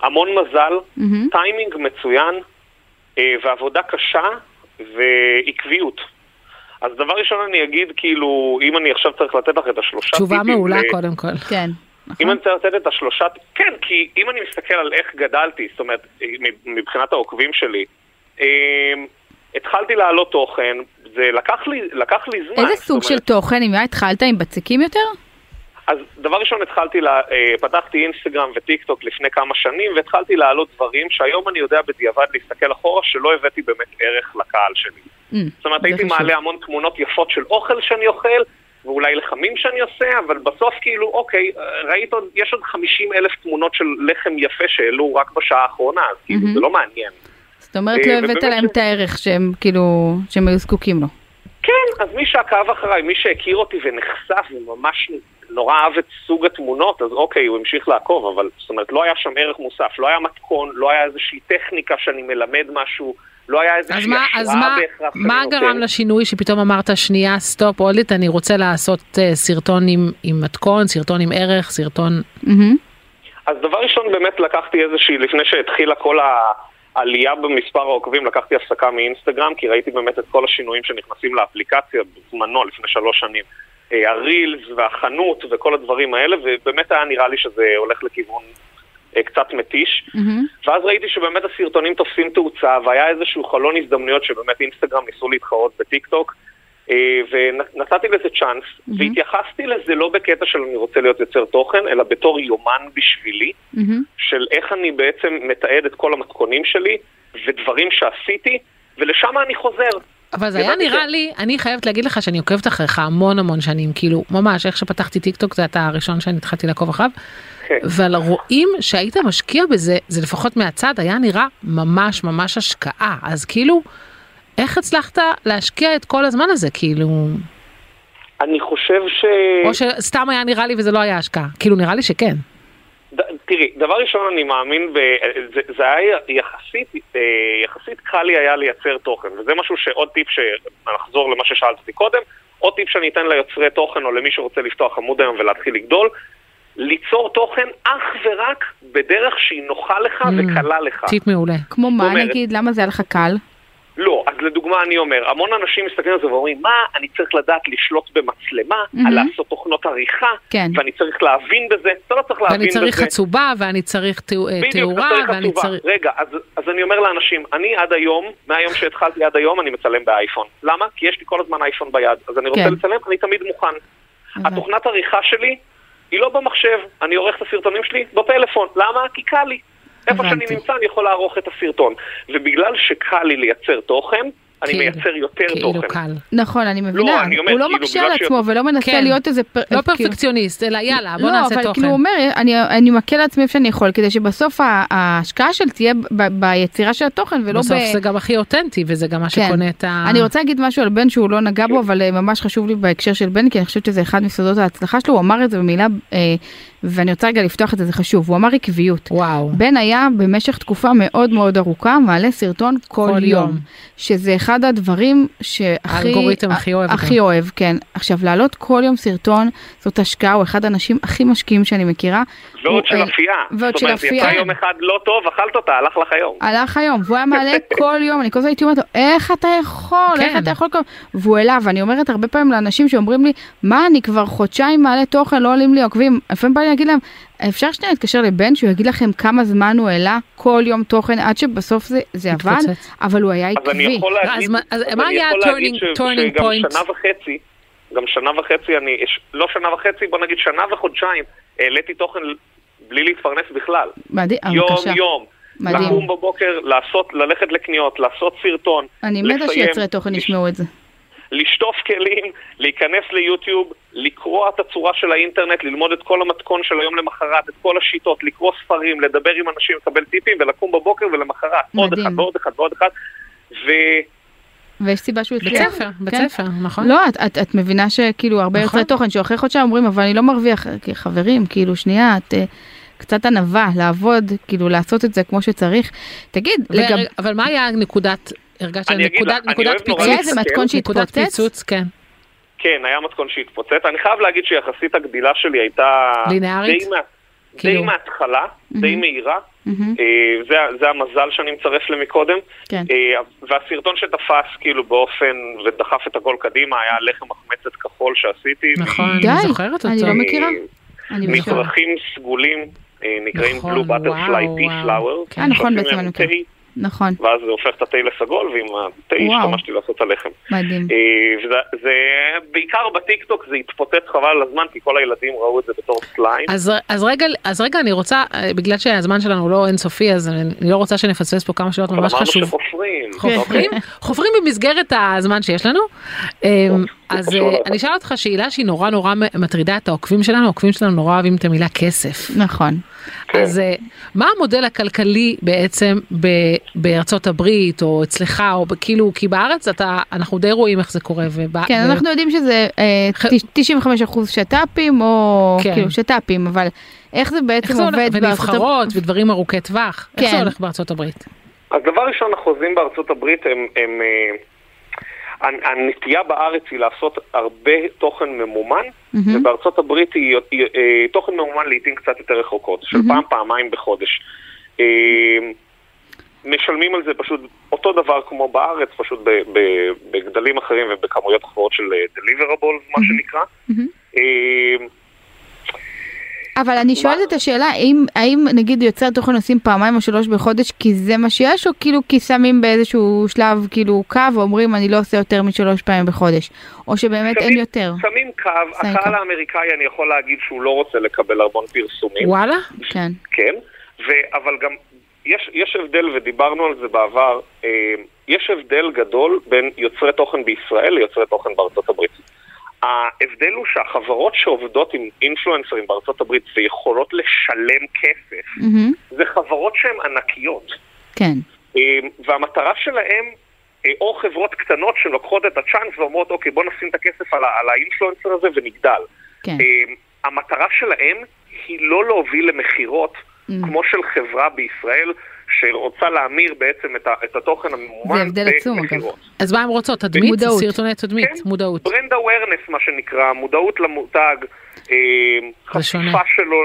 [SPEAKER 1] המון מזל,
[SPEAKER 3] מהמם.
[SPEAKER 1] טיימינג מצוין, אה, ועבודה קשה ועקביות. אז דבר ראשון אני אגיד, כאילו, אם אני עכשיו צריך לתת לך את השלושה טיפים...
[SPEAKER 2] תשובה מעולה
[SPEAKER 1] ל-
[SPEAKER 2] קודם כל.
[SPEAKER 3] כן.
[SPEAKER 1] אם
[SPEAKER 3] נכון.
[SPEAKER 1] אני צריך לתת את השלושה, כן, כי אם אני מסתכל על איך גדלתי, זאת אומרת, מבחינת העוקבים שלי, אמ, התחלתי להעלות תוכן, זה לקח לי, לקח לי זמן.
[SPEAKER 3] איזה
[SPEAKER 1] זאת
[SPEAKER 3] סוג של
[SPEAKER 1] אומרת,
[SPEAKER 3] תוכן, אם היה התחלת עם בצקים יותר?
[SPEAKER 1] אז דבר ראשון התחלתי, לה, אה, פתחתי אינסטגרם וטיק טוק לפני כמה שנים, והתחלתי להעלות דברים שהיום אני יודע בדיעבד להסתכל אחורה, שלא הבאתי באמת ערך לקהל שלי.
[SPEAKER 3] Mm,
[SPEAKER 1] זאת אומרת,
[SPEAKER 3] זה
[SPEAKER 1] הייתי
[SPEAKER 3] חשוב.
[SPEAKER 1] מעלה המון תמונות יפות של אוכל שאני אוכל, ואולי לחמים שאני עושה, אבל בסוף כאילו, אוקיי, אה, ראית עוד, יש עוד 50 אלף תמונות של לחם יפה שהעלו רק בשעה האחרונה, אז כאילו,
[SPEAKER 3] מהמם.
[SPEAKER 1] זה לא מעניין.
[SPEAKER 3] זאת אומרת,
[SPEAKER 1] אה,
[SPEAKER 3] לא הבאת
[SPEAKER 1] ובאמת
[SPEAKER 3] להם
[SPEAKER 1] ש-
[SPEAKER 3] את הערך שהם כאילו, שהם היו זקוקים לו.
[SPEAKER 1] כן, אז מי שעקב אחריי, מי שהכיר אותי ונחשף וממש נורא אהב את סוג התמונות, אז אוקיי, הוא המשיך לעקוב, אבל זאת אומרת, לא היה שם ערך מוסף, לא היה מתכון, לא היה איזושהי טכניקה שאני מלמד משהו, לא היה
[SPEAKER 2] אז
[SPEAKER 1] איזושהי
[SPEAKER 2] מה, אז מה,
[SPEAKER 1] השראה בהכרח. שאני
[SPEAKER 2] מה
[SPEAKER 1] נותן.
[SPEAKER 2] גרם לשינוי שפתאום אמרת שנייה סטופ אולית אני רוצה לעשות אה, סרטון עם, עם מתכון סרטון עם ערך סרטון
[SPEAKER 3] מהמם.
[SPEAKER 1] אז דבר ראשון באמת לקחתי איזושהי, לפני שהתחילה כל העלייה במספר העוקבים, לקחתי הפסקה מאינסטגרם, כי ראיתי באמת את כל השינויים שנכנסים לאפליקציה בזמנו, לפני שלוש שנים. אה, הרילס והחנות וכל הדברים האלה, ובאמת היה נראה לי שזה הולך לכיוון אה, קצת מתיש.
[SPEAKER 3] מהמם.
[SPEAKER 1] ואז ראיתי שבאמת הסרטונים תופסים תאוצה, והיה איזשהו חלון הזדמנויות שבאמת אינסטגרם ניסו להתחרות בטיק טוק, אה, ונתתי לזה צ'אנס,
[SPEAKER 3] מהמם.
[SPEAKER 1] והתייחסתי לזה לא בקטע של אני רוצה להיות יוצר תוכן, אלא בתור יומן בשבילי,
[SPEAKER 3] מהמם.
[SPEAKER 1] של איך אני בעצם מתעד את כל המתכונים שלי, ודברים שעשיתי, ולשם אני חוזר.
[SPEAKER 2] אבל זה היה
[SPEAKER 1] הבנתי
[SPEAKER 2] נראה
[SPEAKER 1] ש-
[SPEAKER 2] לי אני חייבת להגיד לך שאני עוקבת אחריך המון המון שנים כאילו ממש איך שפתחתי טיק טוק זה אתה הראשון שאני התחלתי לעקוב אחריו
[SPEAKER 1] כן.
[SPEAKER 2] אבל רואים שהיית משקיע בזה זה לפחות מהצד היה נראה ממש ממש השקעה אז כאילו איך הצלחת להשקיע את כל הזמן הזה כאילו
[SPEAKER 1] אני חושב ש... אה.
[SPEAKER 2] או שסתם היה נראה לי וזה לא היה השקעה כאילו נראה לי שכן.
[SPEAKER 1] ד- תראי, דבר ראשון, אני מאמין, ב... זה, זה היה יחסית, אה, יחסית קל לי היה לייצר תוכן, וזה משהו שעוד טיפ, שנחזור למה ששאלת אותי קודם, עוד טיפ שאני אתן ליוצרי תוכן או למי שרוצה לפתוח עמוד היום ולהתחיל לגדול, ליצור תוכן אך ורק בדרך שהיא נוחה לך
[SPEAKER 2] Mm.
[SPEAKER 1] וקלה לך.
[SPEAKER 2] טיפ מעולה.
[SPEAKER 3] כמו מה
[SPEAKER 1] אומרת-
[SPEAKER 3] נגיד, למה זה היה לך קל?
[SPEAKER 1] לא, אז לדוגמה אני אומר, המון אנשים מסתכלים על זה ואומרים, מה, אני צריך לדעת לשלוט במצלמה,
[SPEAKER 3] מהמם.
[SPEAKER 1] על לעשות תוכנות עריכה,
[SPEAKER 3] כן.
[SPEAKER 1] ואני צריך להבין בזה, אתה לא צריך להבין בזה.
[SPEAKER 2] ואני צריך חצובה ואני צריך תאו- אה,
[SPEAKER 1] בדיוק,
[SPEAKER 2] תאורה
[SPEAKER 1] אתה צריך
[SPEAKER 2] ואני
[SPEAKER 1] עצובה.
[SPEAKER 2] צריך...
[SPEAKER 1] רגע, אז, אז אני אומר לאנשים, אני עד היום, מהיום שהתחלתי עד היום, אני מצלם באייפון. למה? כי יש לי כל הזמן אייפון ביד, אז אני רוצה
[SPEAKER 3] כן.
[SPEAKER 1] לצלם, אני תמיד מוכן.
[SPEAKER 3] הבנתי.
[SPEAKER 1] התוכנת עריכה שלי היא לא במחשב, אני עורך את הסרטונים שלי בפלאפון. למה? כי קל לי. איפה שאני
[SPEAKER 3] הבנתי.
[SPEAKER 1] נמצא אני יכול לערוך את הסרטון. ובגלל שקל לי לייצר תוכן, אני
[SPEAKER 2] כאילו,
[SPEAKER 1] מייצר יותר
[SPEAKER 2] כאילו
[SPEAKER 1] תוכן.
[SPEAKER 2] קל.
[SPEAKER 3] נכון, אני מבינה,
[SPEAKER 1] אני אומר,
[SPEAKER 3] הוא לא
[SPEAKER 1] כאילו,
[SPEAKER 3] מקשה
[SPEAKER 1] בגלל
[SPEAKER 3] על
[SPEAKER 1] ש-
[SPEAKER 3] עצמו ולא מנסה
[SPEAKER 2] כן.
[SPEAKER 3] להיות איזה... פר-
[SPEAKER 2] לא
[SPEAKER 3] כאילו-
[SPEAKER 2] פרפקציוניסט, אלא יאללה, בוא
[SPEAKER 3] לא,
[SPEAKER 2] נעשה
[SPEAKER 3] אבל
[SPEAKER 2] תוכן.
[SPEAKER 3] כאילו הוא אומר, אני, אני מכה לעצמי איפה שאני יכול, כדי שבסוף ה- ההשקעה שלי תהיה ב- ביצירה של התוכן ולא ב...
[SPEAKER 2] בסוף זה גם הכי אותנטי וזה גם מה
[SPEAKER 3] כן.
[SPEAKER 2] שקונה את ה...
[SPEAKER 3] אני רוצה להגיד משהו על בן שהוא לא נגע בו, אבל אה, ממש חשוב לי בהקשר של בן, כי אני חושבת שזה אחד מסודות ההצלחה שלו, הוא אמר את זה במילה, אה, ואני רוצה רגע לפתוח את זה, זה חשוב, הוא אמר עקביות.
[SPEAKER 2] וואו.
[SPEAKER 3] בן היה במשך תקופה מאוד מאוד ארוכה מעלה סרטון כל,
[SPEAKER 2] כל
[SPEAKER 3] כל
[SPEAKER 2] יום.
[SPEAKER 3] יום, שזה אחד הדברים שהכי...
[SPEAKER 2] האלגוריתם הכי אוהב אותו.
[SPEAKER 3] הכי אוהב, כן. עכשיו, להעלות כל יום סרטון, זאת השקעה, הוא אחד האנשים הכי משקיעים שאני מכירה.
[SPEAKER 1] ועוד
[SPEAKER 3] הוא,
[SPEAKER 1] של
[SPEAKER 3] אה,
[SPEAKER 1] אפייה.
[SPEAKER 3] ועוד של
[SPEAKER 1] זאת אומרת,
[SPEAKER 3] אפייה.
[SPEAKER 1] יצא יום אחד לא טוב, אכלת אותה, הלך לך יום.
[SPEAKER 3] הלך היום, והוא היה
[SPEAKER 1] <laughs>
[SPEAKER 3] מעלה כל יום, אני כל הזמן הייתי אומרת לו, איך אתה יכול,
[SPEAKER 2] כן.
[SPEAKER 3] איך אתה יכול, כל-" והוא העלה, ואני אומרת הרבה פעמים לאנשים שאומרים לי, מה, אני כבר חודשיים מעלה תוכן, לא עולים לי עוקבים, לפעמים בא לי להגיד להם, אפשר שנייה להתקשר לבן, שהוא יגיד לכם כמה זמן הוא העלה כל יום תוכן, עד שבסוף זה- זה עבד,
[SPEAKER 2] מתפוצץ.
[SPEAKER 3] אבל הוא היה
[SPEAKER 1] אז אני
[SPEAKER 3] עקבי.
[SPEAKER 1] יכול
[SPEAKER 2] אה, אז
[SPEAKER 1] להגיד,
[SPEAKER 2] מה- אז
[SPEAKER 1] אז
[SPEAKER 2] מה
[SPEAKER 1] אני
[SPEAKER 2] היה
[SPEAKER 1] יכול להגיד
[SPEAKER 2] ה-turning-
[SPEAKER 1] ש-
[SPEAKER 2] turning
[SPEAKER 1] שגם
[SPEAKER 2] point?
[SPEAKER 1] שנה וחצי, גם שנה וחצי אני, יש- לא שנה וחצי, בוא נגיד שנה וחודשיים, העליתי תוכן בלי להתפרנס בכלל.
[SPEAKER 3] מדהים, אבל
[SPEAKER 1] יום
[SPEAKER 3] בבקשה.
[SPEAKER 1] יום.
[SPEAKER 3] מדהים.
[SPEAKER 1] לקום בבוקר, לעשות, ללכת לקניות, לעשות סרטון,
[SPEAKER 3] אני מתה
[SPEAKER 1] לסיים,
[SPEAKER 3] שיוצרי תוכן
[SPEAKER 1] לש-
[SPEAKER 3] ישמעו את זה.
[SPEAKER 1] לשטוף כלים, להיכנס ליוטיוב, לקרוע את הצורה של האינטרנט, ללמוד את כל המתכון של היום למחרת, את כל השיטות, לקרוא ספרים, לדבר עם אנשים, לקבל טיפים, ולקום בבוקר ולמחרת. עוד
[SPEAKER 3] מדהים.
[SPEAKER 1] אחד ועוד אחד ועוד אחד. ו...
[SPEAKER 3] ויש סיבה שהוא
[SPEAKER 2] בית
[SPEAKER 3] הצליח.
[SPEAKER 2] ספר, בית
[SPEAKER 3] כן.
[SPEAKER 2] ספר, נכון?
[SPEAKER 3] לא, את, את, את מבינה שכאילו הרבה
[SPEAKER 2] נכון.
[SPEAKER 3] יוצרי תוכן שאחרי חודשיים אומרים, אבל אני לא מרוויח, כי חברים, כאילו שנייה, את אה, קצת ענווה, לעבוד, כאילו לעשות את זה כמו שצריך. תגיד, לגב...
[SPEAKER 2] ורגע, אבל מה היה נקודת, הרגשת
[SPEAKER 1] אני אגיד
[SPEAKER 2] נקודת
[SPEAKER 1] לך, אני אוהב נורא
[SPEAKER 3] היה
[SPEAKER 2] פיצוץ?
[SPEAKER 3] איזה מתכון
[SPEAKER 2] נקודת
[SPEAKER 3] שהתפוצץ?
[SPEAKER 2] פיצוץ, כן.
[SPEAKER 1] כן, היה מתכון שהתפוצץ. אני חייב להגיד שיחסית הגדילה שלי הייתה...
[SPEAKER 2] לינארית?
[SPEAKER 1] די, מה...
[SPEAKER 2] כאילו.
[SPEAKER 1] די מההתחלה, די
[SPEAKER 3] Mhm.
[SPEAKER 1] מהירה.
[SPEAKER 3] מהמם,
[SPEAKER 1] אה, זה, זה המזל שאני מצרף למקודם.
[SPEAKER 3] כן.
[SPEAKER 1] אה, והסרטון שתפס כאילו באופן ודחף את הכל קדימה היה לחם מחמצת כחול שעשיתי.
[SPEAKER 2] נכון,
[SPEAKER 1] מ-
[SPEAKER 2] אני
[SPEAKER 3] די,
[SPEAKER 2] זוכרת
[SPEAKER 3] אני
[SPEAKER 2] אותו.
[SPEAKER 3] לא
[SPEAKER 1] אה,
[SPEAKER 3] מכירה. אני בשוק.
[SPEAKER 1] מצרכים סגולים אה, נקראים
[SPEAKER 2] נכון,
[SPEAKER 1] blue butterfly
[SPEAKER 2] וואו, וואו.
[SPEAKER 1] tea flower.
[SPEAKER 2] כן.
[SPEAKER 3] אה, נכון,
[SPEAKER 1] שעושים
[SPEAKER 3] בעצם
[SPEAKER 1] מהם
[SPEAKER 3] אני מכירה.
[SPEAKER 1] תה,
[SPEAKER 3] נכון,
[SPEAKER 1] ואז זה הופך את התה לסגול, ועם התה
[SPEAKER 3] וואו.
[SPEAKER 1] השתמשתי לעשות את הלחם.
[SPEAKER 3] מדהים.
[SPEAKER 1] אה, וזה- זה בעיקר בטיקטוק זה התפוצץ חבל על הזמן, כי כל הילדים ראו את זה בתור סליים.
[SPEAKER 2] אז, אז, רגע, אז רגע אני רוצה, אה, בגלל שהזמן שלנו לא אינסופי אז אני לא רוצה שנפספס פה כמה שאלות
[SPEAKER 1] אבל
[SPEAKER 2] ממש
[SPEAKER 1] אמרנו
[SPEAKER 2] חשוב.
[SPEAKER 1] שחופרים.
[SPEAKER 2] חופרים, <laughs> חופרים במסגרת הזמן שיש לנו. אמ, אז
[SPEAKER 1] כן, קשור
[SPEAKER 2] אה,
[SPEAKER 1] לאוכל.
[SPEAKER 2] אני אשאל אותך שאלה שהיא נורא נורא מטרידה את העוקבים שלנו, העוקבים שלנו נורא אוהבים את המילה כסף.
[SPEAKER 3] נכון.
[SPEAKER 1] כן.
[SPEAKER 2] אז אה, מה המודל הכלכלי בעצם ב, בארצות הברית או אצלך או ב- כאילו כי בארץ אתה אנחנו די רואים איך זה קורה. ובא,
[SPEAKER 3] כן, אנחנו יודעים שזה אה,
[SPEAKER 2] אה, ח-
[SPEAKER 3] 95% שת"פים, או
[SPEAKER 2] כן.
[SPEAKER 3] כאילו שת"פים, אבל איך זה
[SPEAKER 2] איך
[SPEAKER 3] בעצם
[SPEAKER 2] זה הולך
[SPEAKER 3] עובד בארצות הברית?
[SPEAKER 2] ונבחרות ודברים ארוכי טווח. איך זה
[SPEAKER 3] כן.
[SPEAKER 2] הולך בארצות הברית?
[SPEAKER 1] אז דבר ראשון, החוזים בארצות הברית הם... הם אה, הנ- הנטייה בארץ היא לעשות הרבה תוכן ממומן,
[SPEAKER 3] מהמם.
[SPEAKER 1] ובארצות הברית היא, היא, אה, תוכן ממומן לעיתים קצת יותר רחוקות, של
[SPEAKER 3] מהמם.
[SPEAKER 1] פעם, פעמיים בחודש. אה, משלמים על זה פשוט אותו דבר כמו בארץ, פשוט ב, ב, בגדלים אחרים ובכמויות אחרות של דליברבול, מה שנקרא.
[SPEAKER 3] מהמם.
[SPEAKER 1] אה,
[SPEAKER 3] אבל אני שואלת את השאלה, האם, האם נגיד יוצר תוכן עושים פעמיים או שלוש בחודש כי זה מה שיש, או כאילו כי שמים באיזשהו שלב כאילו קו ואומרים אני לא עושה יותר משלוש פעמים בחודש, או שבאמת אין
[SPEAKER 1] שמים-
[SPEAKER 3] יותר.
[SPEAKER 1] שמים קו,
[SPEAKER 3] שמים
[SPEAKER 1] הקהל
[SPEAKER 3] קו.
[SPEAKER 1] האמריקאי, אני יכול להגיד שהוא לא רוצה לקבל ארבון פרסומים.
[SPEAKER 2] וואלה?
[SPEAKER 3] כן.
[SPEAKER 1] כן, ו, אבל גם יש, יש הבדל, ודיברנו על זה בעבר, אה, יש הבדל גדול בין יוצרי תוכן בישראל ליוצרי תוכן בארצות הברית. ההבדל הוא שהחברות שעובדות עם אינפלואנסרים בארצות הברית ויכולות לשלם כסף,
[SPEAKER 3] מהמם,
[SPEAKER 1] זה חברות שהן ענקיות.
[SPEAKER 3] כן.
[SPEAKER 1] אה, והמטרה שלהם, אה, או חברות קטנות שלוקחות את הצ'אנס ואומרות, אוקיי, בוא נשים את הכסף על, ה- על האינפלואנסר הזה ונגדל.
[SPEAKER 3] כן.
[SPEAKER 1] אמ, אה, המטרה שלהם היא לא להוביל למכירות,
[SPEAKER 3] Mm.
[SPEAKER 1] כמו של חברה בישראל שרוצה להמיר בעצם את, ה- את התוכן הממומן.
[SPEAKER 3] זה הבדל עצום, אגב.
[SPEAKER 1] במכירות.
[SPEAKER 2] אז מה הם רוצות? תדמית?
[SPEAKER 3] מודעות.
[SPEAKER 2] סרטוני תדמית,
[SPEAKER 1] כן.
[SPEAKER 2] מודעות.
[SPEAKER 1] ברנד אווירנס מה שנקרא, מודעות למותג, אה,
[SPEAKER 2] זה שונה.
[SPEAKER 1] חשיפה שלו,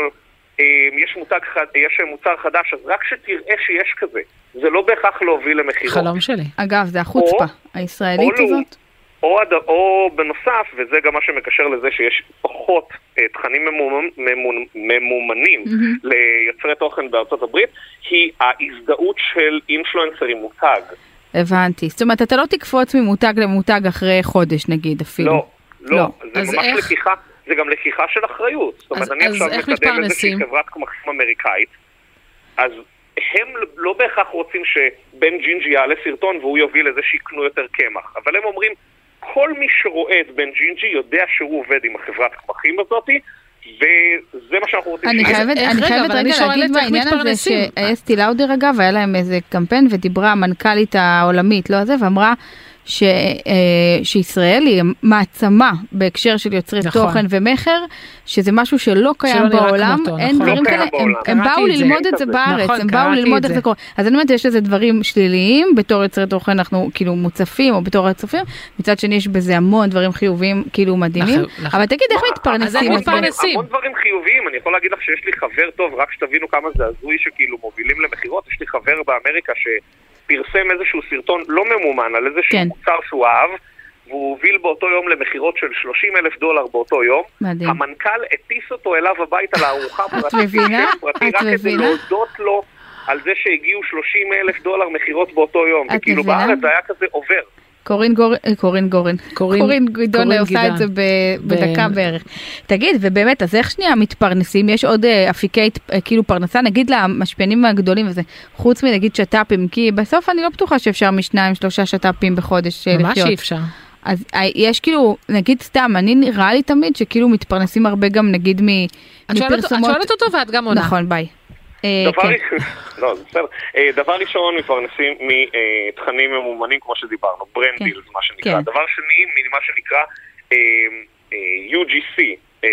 [SPEAKER 1] אה, יש, מותג, חד- יש מוצר חדש, אז רק שתראה שיש כזה, זה לא בהכרח להוביל למכירות.
[SPEAKER 2] חלום שלי.
[SPEAKER 3] אגב, זה החוצפה
[SPEAKER 1] או-
[SPEAKER 3] הישראלית
[SPEAKER 1] או לא.
[SPEAKER 3] הזאת.
[SPEAKER 1] או, הד... או בנוסף, וזה גם מה שמקשר לזה שיש פחות אה, תכנים ממומ... ממומ... ממומנים
[SPEAKER 3] מהמם.
[SPEAKER 1] ליוצרי תוכן בארצות הברית, היא ההזדהות של אינפלואנסר עם מותג.
[SPEAKER 3] הבנתי. זאת אומרת, אתה לא תקפוץ ממותג למותג אחרי חודש נגיד אפילו.
[SPEAKER 1] לא, לא,
[SPEAKER 3] לא.
[SPEAKER 1] זה
[SPEAKER 2] אז
[SPEAKER 1] ממש
[SPEAKER 2] איך-
[SPEAKER 1] לקיחה, זה גם לקיחה של אחריות. זאת אומרת,
[SPEAKER 2] אז-
[SPEAKER 1] אני
[SPEAKER 2] אז
[SPEAKER 1] עכשיו
[SPEAKER 2] איך
[SPEAKER 1] מקדם איזושהי
[SPEAKER 2] מתפרנסים?
[SPEAKER 1] חברת קמחים אמריקאית, אז הם לא בהכרח רוצים שבן ג'ינג'י יעלה סרטון והוא יוביל לזה שיקנו יותר קמח, אבל הם אומרים, כל מי שרואה את בן ג'ינג'י יודע שהוא עובד עם החברת קמחים הזאתי, וזה מה שאנחנו רוצים
[SPEAKER 3] אני
[SPEAKER 1] שיקרה.
[SPEAKER 3] חייבת,
[SPEAKER 2] איך
[SPEAKER 3] אני
[SPEAKER 2] רגע,
[SPEAKER 3] חייבת
[SPEAKER 2] אבל אני
[SPEAKER 3] רגע
[SPEAKER 2] שואלת
[SPEAKER 3] להגיד
[SPEAKER 2] איך
[SPEAKER 3] בעניין הזה
[SPEAKER 2] מתפרנסים.
[SPEAKER 3] שאסתי לאודר אגב היה להם איזה קמפיין ודיברה המנכ"לית העולמית לא הזה ואמרה ש, אה, שישראל היא מעצמה בהקשר של יוצרי
[SPEAKER 2] נכון.
[SPEAKER 3] תוכן ומכר שזה משהו שלא
[SPEAKER 2] שלא
[SPEAKER 3] קיים
[SPEAKER 2] נראה
[SPEAKER 3] בעולם
[SPEAKER 2] כמותו,
[SPEAKER 3] אין
[SPEAKER 2] נכון.
[SPEAKER 3] דברים
[SPEAKER 1] לא
[SPEAKER 3] כאלה
[SPEAKER 1] קיים
[SPEAKER 3] הם,
[SPEAKER 1] בעולם.
[SPEAKER 3] הם
[SPEAKER 2] קראתי
[SPEAKER 3] באו
[SPEAKER 2] את זה.
[SPEAKER 3] ללמוד
[SPEAKER 1] אין
[SPEAKER 3] את זה
[SPEAKER 1] כזה.
[SPEAKER 3] בארץ
[SPEAKER 2] נכון,
[SPEAKER 3] הם באו
[SPEAKER 2] קראתי
[SPEAKER 3] ללמוד
[SPEAKER 2] את
[SPEAKER 3] איך
[SPEAKER 2] זה.
[SPEAKER 3] זה קורה אז אני אומרת יש לזה דברים שליליים בתור יוצרי תוכן אנחנו כאילו מוצפים או בתור הצופים מצד שני יש בזה המון דברים חיוביים כאילו מדהימים
[SPEAKER 2] נכון, נכון.
[SPEAKER 3] אבל תגיד איך
[SPEAKER 1] מה,
[SPEAKER 3] מתפרנסים
[SPEAKER 2] איך
[SPEAKER 1] המון
[SPEAKER 3] אז בין-
[SPEAKER 1] דברים-
[SPEAKER 2] מתפרנסים?
[SPEAKER 1] המון דברים חיוביים, אני יכול להגיד לך שיש לי חבר טוב, רק שתבינו כמה זה הזוי שכאילו מובילים למכירות, יש לי חבר באמריקה שפרסם איזשהו סרטון לא ממומן על איזשהו
[SPEAKER 3] כן.
[SPEAKER 1] מוצר שהוא אהב, והוא הוביל באותו יום למכירות של 30 אלף דולר באותו יום.
[SPEAKER 3] מדהים.
[SPEAKER 1] המנכ"ל הטיס אותו אליו הביתה לארוחה פרטית,
[SPEAKER 3] מבינה?
[SPEAKER 1] שם פרטי,
[SPEAKER 3] את
[SPEAKER 1] רק כדי
[SPEAKER 3] מבינה?
[SPEAKER 1] להודות לו על זה שהגיעו 30 אלף דולר מכירות באותו יום,
[SPEAKER 3] את
[SPEAKER 1] וכאילו
[SPEAKER 3] מבינה?
[SPEAKER 1] בארץ זה היה כזה עובר.
[SPEAKER 3] קורין גורן, אה, קורין גורן,
[SPEAKER 2] קורין-
[SPEAKER 3] קורין גדעון
[SPEAKER 2] קורין
[SPEAKER 3] עושה
[SPEAKER 2] גדעון. כן.
[SPEAKER 3] את זה ב,
[SPEAKER 2] ב-
[SPEAKER 3] בדקה בערך. תגיד, ובאמת, אז איך שנייה מתפרנסים? יש עוד אה, אפיקי הת- אה, כאילו פרנסה, נגיד למשפיענים הגדולים וזה, חוץ מנגיד שת"פים, כי בסוף אני לא בטוחה שאפשר משניים, שלושה שת"פים בחודש אה, לחיות.
[SPEAKER 2] ממש אי אפשר.
[SPEAKER 3] אז אה, יש כאילו, נגיד סתם, אני נראה לי תמיד שכאילו מתפרנסים הרבה גם נגיד מ,
[SPEAKER 2] את שואלת- את
[SPEAKER 3] מפרסומות.
[SPEAKER 2] שואלת אותו ואת גם עונה.
[SPEAKER 3] נכון, ביי. אה,
[SPEAKER 1] דבר,
[SPEAKER 3] כן.
[SPEAKER 1] ראשון- <laughs> לא, זה בסדר. אה, דבר ראשון, מפרנסים מתכנים ממומנים, כמו שדיברנו, ברנד
[SPEAKER 3] כן.
[SPEAKER 1] דילס, מה שנקרא.
[SPEAKER 3] כן.
[SPEAKER 1] דבר שני, ממה שנקרא אה, אה, UGC, אה,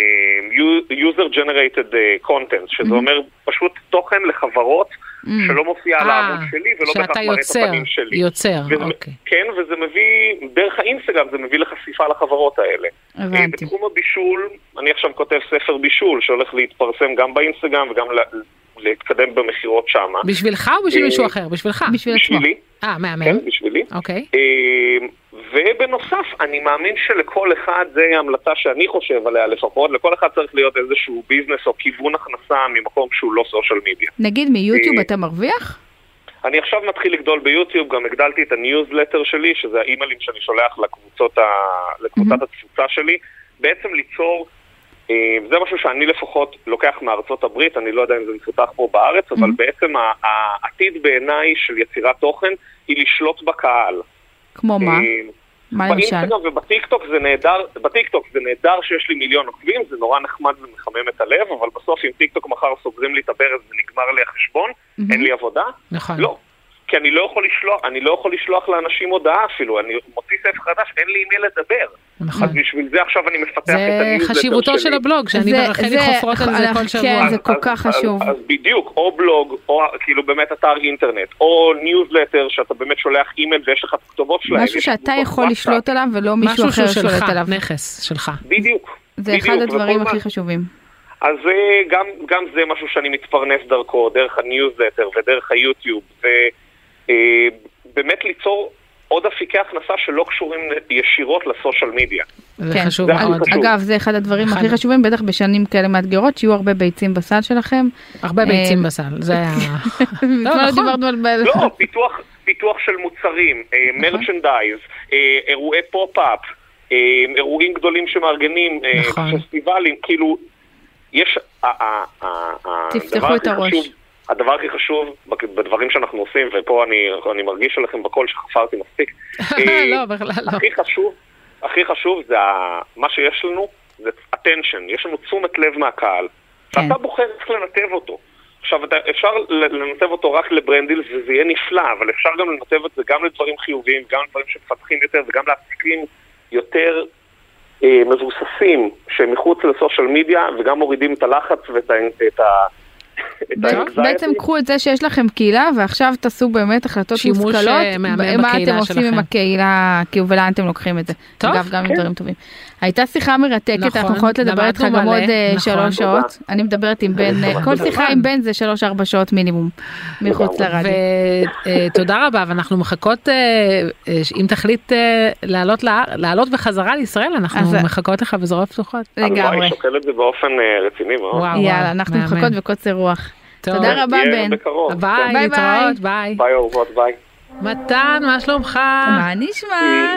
[SPEAKER 1] User Generated אה, Content, שזה אומר פשוט תוכן לחברות
[SPEAKER 3] Mm.
[SPEAKER 1] שלא מופיע על
[SPEAKER 2] אה,
[SPEAKER 1] העמוד שלי ולא בהכרח
[SPEAKER 2] שאתה
[SPEAKER 1] מראה את
[SPEAKER 2] יוצר,
[SPEAKER 1] הפנים שלי.
[SPEAKER 2] יוצר,
[SPEAKER 1] וזה-
[SPEAKER 2] אוקיי.
[SPEAKER 1] כן, וזה מביא, דרך האינסטגרם זה מביא לחשיפה לחברות האלה. אה,
[SPEAKER 3] הבנתי.
[SPEAKER 1] בתחום הבישול, אני עכשיו כותב ספר בישול שהולך להתפרסם גם באינסטגרם וגם ל- להתקדם במכירות שמה.
[SPEAKER 2] בשבילך או בשביל
[SPEAKER 1] אה,
[SPEAKER 2] מישהו אחר? בשבילך.
[SPEAKER 3] בשביל עצמו.
[SPEAKER 1] בשבילי,
[SPEAKER 2] אה, מהמם.
[SPEAKER 1] כן, בשבילי.
[SPEAKER 2] אוקיי.
[SPEAKER 1] אה, ובנוסף, אני מאמין שלכל אחד, זה המלצה שאני חושב עליה לפחות, לכל אחד צריך להיות איזשהו ביזנס או כיוון הכנסה ממקום שהוא לא סושיאל מדיה.
[SPEAKER 3] נגיד מיוטיוב
[SPEAKER 1] אה,
[SPEAKER 3] אתה מרוויח?
[SPEAKER 1] אני עכשיו מתחיל לגדול ביוטיוב, גם הגדלתי את הניוזלטר שלי, שזה האימיילים שאני שולח לקבוצות ה... לקבוצת
[SPEAKER 3] Mhm.
[SPEAKER 1] התפוצה שלי, בעצם ליצור, אה, זה משהו שאני לפחות לוקח מארצות הברית, אני לא יודע אם זה מפותח פה בארץ, אבל
[SPEAKER 3] מהמם.
[SPEAKER 1] בעצם ה- העתיד בעיניי של יצירת תוכן היא לשלוט בקהל.
[SPEAKER 3] כמו מה?
[SPEAKER 1] אה,
[SPEAKER 3] מה למשל?
[SPEAKER 1] באינסטגרם ובטיקטוק זה נהדר, בטיקטוק זה נהדר שיש לי מיליון עוקבים, זה נורא נחמד ומחמם את הלב, אבל בסוף אם טיקטוק מחר סוגרים לי את הברז ונגמר לי החשבון,
[SPEAKER 3] מהמם.
[SPEAKER 1] אין לי עבודה,
[SPEAKER 2] נכון.
[SPEAKER 3] אה.
[SPEAKER 1] לא. כי אני לא יכול לשלוח, אני לא יכול לשלוח לאנשים הודעה אפילו, אני מוציא ספר חדש, אין לי עם מי לדבר.
[SPEAKER 2] נכון.
[SPEAKER 1] אז בשביל זה עכשיו אני מפתח את
[SPEAKER 2] זה
[SPEAKER 1] הניוזלטר שלי.
[SPEAKER 2] חשיבותו של הבלוג, שאני
[SPEAKER 3] זה-
[SPEAKER 2] ורחלי
[SPEAKER 3] זה-
[SPEAKER 2] חופרות על זה כל
[SPEAKER 3] כן,
[SPEAKER 2] שבוע.
[SPEAKER 3] זה- כל כך חשוב.
[SPEAKER 1] אז, אז בדיוק, או בלוג, או כאילו באמת אתר אינטרנט, או ניוזלטר שאתה באמת שולח אימייל ויש לך את הכתובות שלהם.
[SPEAKER 3] משהו
[SPEAKER 1] יש
[SPEAKER 3] שאתה
[SPEAKER 1] קבוצות
[SPEAKER 3] יכול
[SPEAKER 1] וואטסאפ.
[SPEAKER 3] לשלוט עליו ולא מישהו
[SPEAKER 2] משהו
[SPEAKER 3] אחר
[SPEAKER 2] שהוא
[SPEAKER 3] שולט
[SPEAKER 2] שלך,
[SPEAKER 3] עליו.
[SPEAKER 2] נכס שלך.
[SPEAKER 1] בדיוק.
[SPEAKER 3] זה אחד
[SPEAKER 1] בדיוק,
[SPEAKER 3] הדברים
[SPEAKER 1] וכל
[SPEAKER 3] הכי
[SPEAKER 1] מה-
[SPEAKER 3] חשובים.
[SPEAKER 1] אז אה, גם, גם זה משהו שאני מתפרנס דרכו, דרך הניוזלטר ודרך היוטיוב, ובאמת ליצור עוד אפיקי הכנסה שלא קשורים ישירות לסושיאל מדיה.
[SPEAKER 2] זה
[SPEAKER 3] כן.
[SPEAKER 2] חשוב
[SPEAKER 1] זה הכי
[SPEAKER 2] מאוד.
[SPEAKER 1] חשוב.
[SPEAKER 3] אגב, זה אחד הדברים
[SPEAKER 2] אחד.
[SPEAKER 3] הכי חשובים, בטח בשנים כאלה מאתגרות, שיהיו הרבה ביצים בסל שלכם.
[SPEAKER 2] הרבה ביצים
[SPEAKER 3] אה,
[SPEAKER 2] בסל, זה היה...
[SPEAKER 3] <laughs> מזמן לא
[SPEAKER 2] נכון.
[SPEAKER 3] דיברנו על... בעל-
[SPEAKER 1] לא, פיתוח, פיתוח של מוצרים, אה,
[SPEAKER 3] נכון.
[SPEAKER 1] מרצ'נדייז, אה, אירועי פופ-אפ, אה, אירועים גדולים שמארגנים, אה,
[SPEAKER 2] נכון.
[SPEAKER 1] פסטיבלים, כאילו, יש... ה- ה- ה- ה-
[SPEAKER 3] תפתחו
[SPEAKER 1] הדבר
[SPEAKER 3] את
[SPEAKER 1] הכי
[SPEAKER 3] הראש.
[SPEAKER 1] חשוב- הדבר הכי חשוב בק- בדברים שאנחנו עושים, ופה אני, אני מרגיש עליכם בקול שחפרתי מספיק, אה,
[SPEAKER 2] <laughs> לא, בכלל לא.
[SPEAKER 1] הכי חשוב, הכי חשוב זה ה- מה שיש לנו, זה attention, יש לנו תשומת לב מהקהל.
[SPEAKER 3] כן.
[SPEAKER 1] ואתה בוחר איך לנתב אותו. עכשיו, אתה, אפשר ל- לנתב אותו רק לברנדילס וזה יהיה נפלא, אבל אפשר גם לנתב את זה גם לדברים חיוביים, גם לדברים שמפתחים יותר וגם לעסקים יותר אה, מבוססים, שהם מחוץ לסושיאל מדיה וגם מורידים את הלחץ ואת ה... את ה... את
[SPEAKER 3] בעצם-
[SPEAKER 1] האנקזייטי.
[SPEAKER 3] בעצם קחו את זה שיש לכם קהילה ועכשיו תעשו באמת החלטות
[SPEAKER 2] שימוש,
[SPEAKER 3] מושכלות,
[SPEAKER 2] אה, מהמם
[SPEAKER 3] ב- מה אתם
[SPEAKER 2] בקהילה
[SPEAKER 3] עושים
[SPEAKER 2] שלכם.
[SPEAKER 3] עם הקהילה, כאילו ולאן אתם לוקחים את זה.
[SPEAKER 2] טוב,
[SPEAKER 3] אגב, גם עם
[SPEAKER 1] כן.
[SPEAKER 3] דברים טובים. הייתה שיחה מרתקת,
[SPEAKER 2] נכון,
[SPEAKER 3] אנחנו יכולות לדבר
[SPEAKER 2] למדנו
[SPEAKER 3] איתך גם
[SPEAKER 2] מלא,
[SPEAKER 3] עוד אה,
[SPEAKER 2] נכון.
[SPEAKER 3] שלוש
[SPEAKER 1] תודה.
[SPEAKER 3] שעות. אני מדברת עם בן, אה, כל
[SPEAKER 1] תודה.
[SPEAKER 3] שיחה עם בן זה שלוש ארבע שעות מינימום, מחוץ
[SPEAKER 1] לגמרי.
[SPEAKER 3] לרדיו.
[SPEAKER 2] ותודה אה, רבה ואנחנו מחכות אה, אה, אם תחליט אה, לעלות לאר- לעלות בחזרה לישראל אנחנו
[SPEAKER 3] אז-
[SPEAKER 2] מחכות לך בזרועות פתוחות.
[SPEAKER 1] אני וואי,
[SPEAKER 3] לגמרי.
[SPEAKER 1] שוקל את זה באופן אה, רציני מאוד.
[SPEAKER 2] וואו,
[SPEAKER 3] יאללה, אנחנו
[SPEAKER 2] מהמם.
[SPEAKER 3] מחכות בקוצר רוח.
[SPEAKER 2] טוב.
[SPEAKER 3] תודה רבה,
[SPEAKER 1] יהיה
[SPEAKER 3] בן.
[SPEAKER 1] בקרוב. כן,
[SPEAKER 2] ביי,
[SPEAKER 3] ביי,
[SPEAKER 2] להתראות, ביי.
[SPEAKER 1] ביי אהובות, ביי.
[SPEAKER 2] מתן, מה שלומך?
[SPEAKER 3] מה נשמע?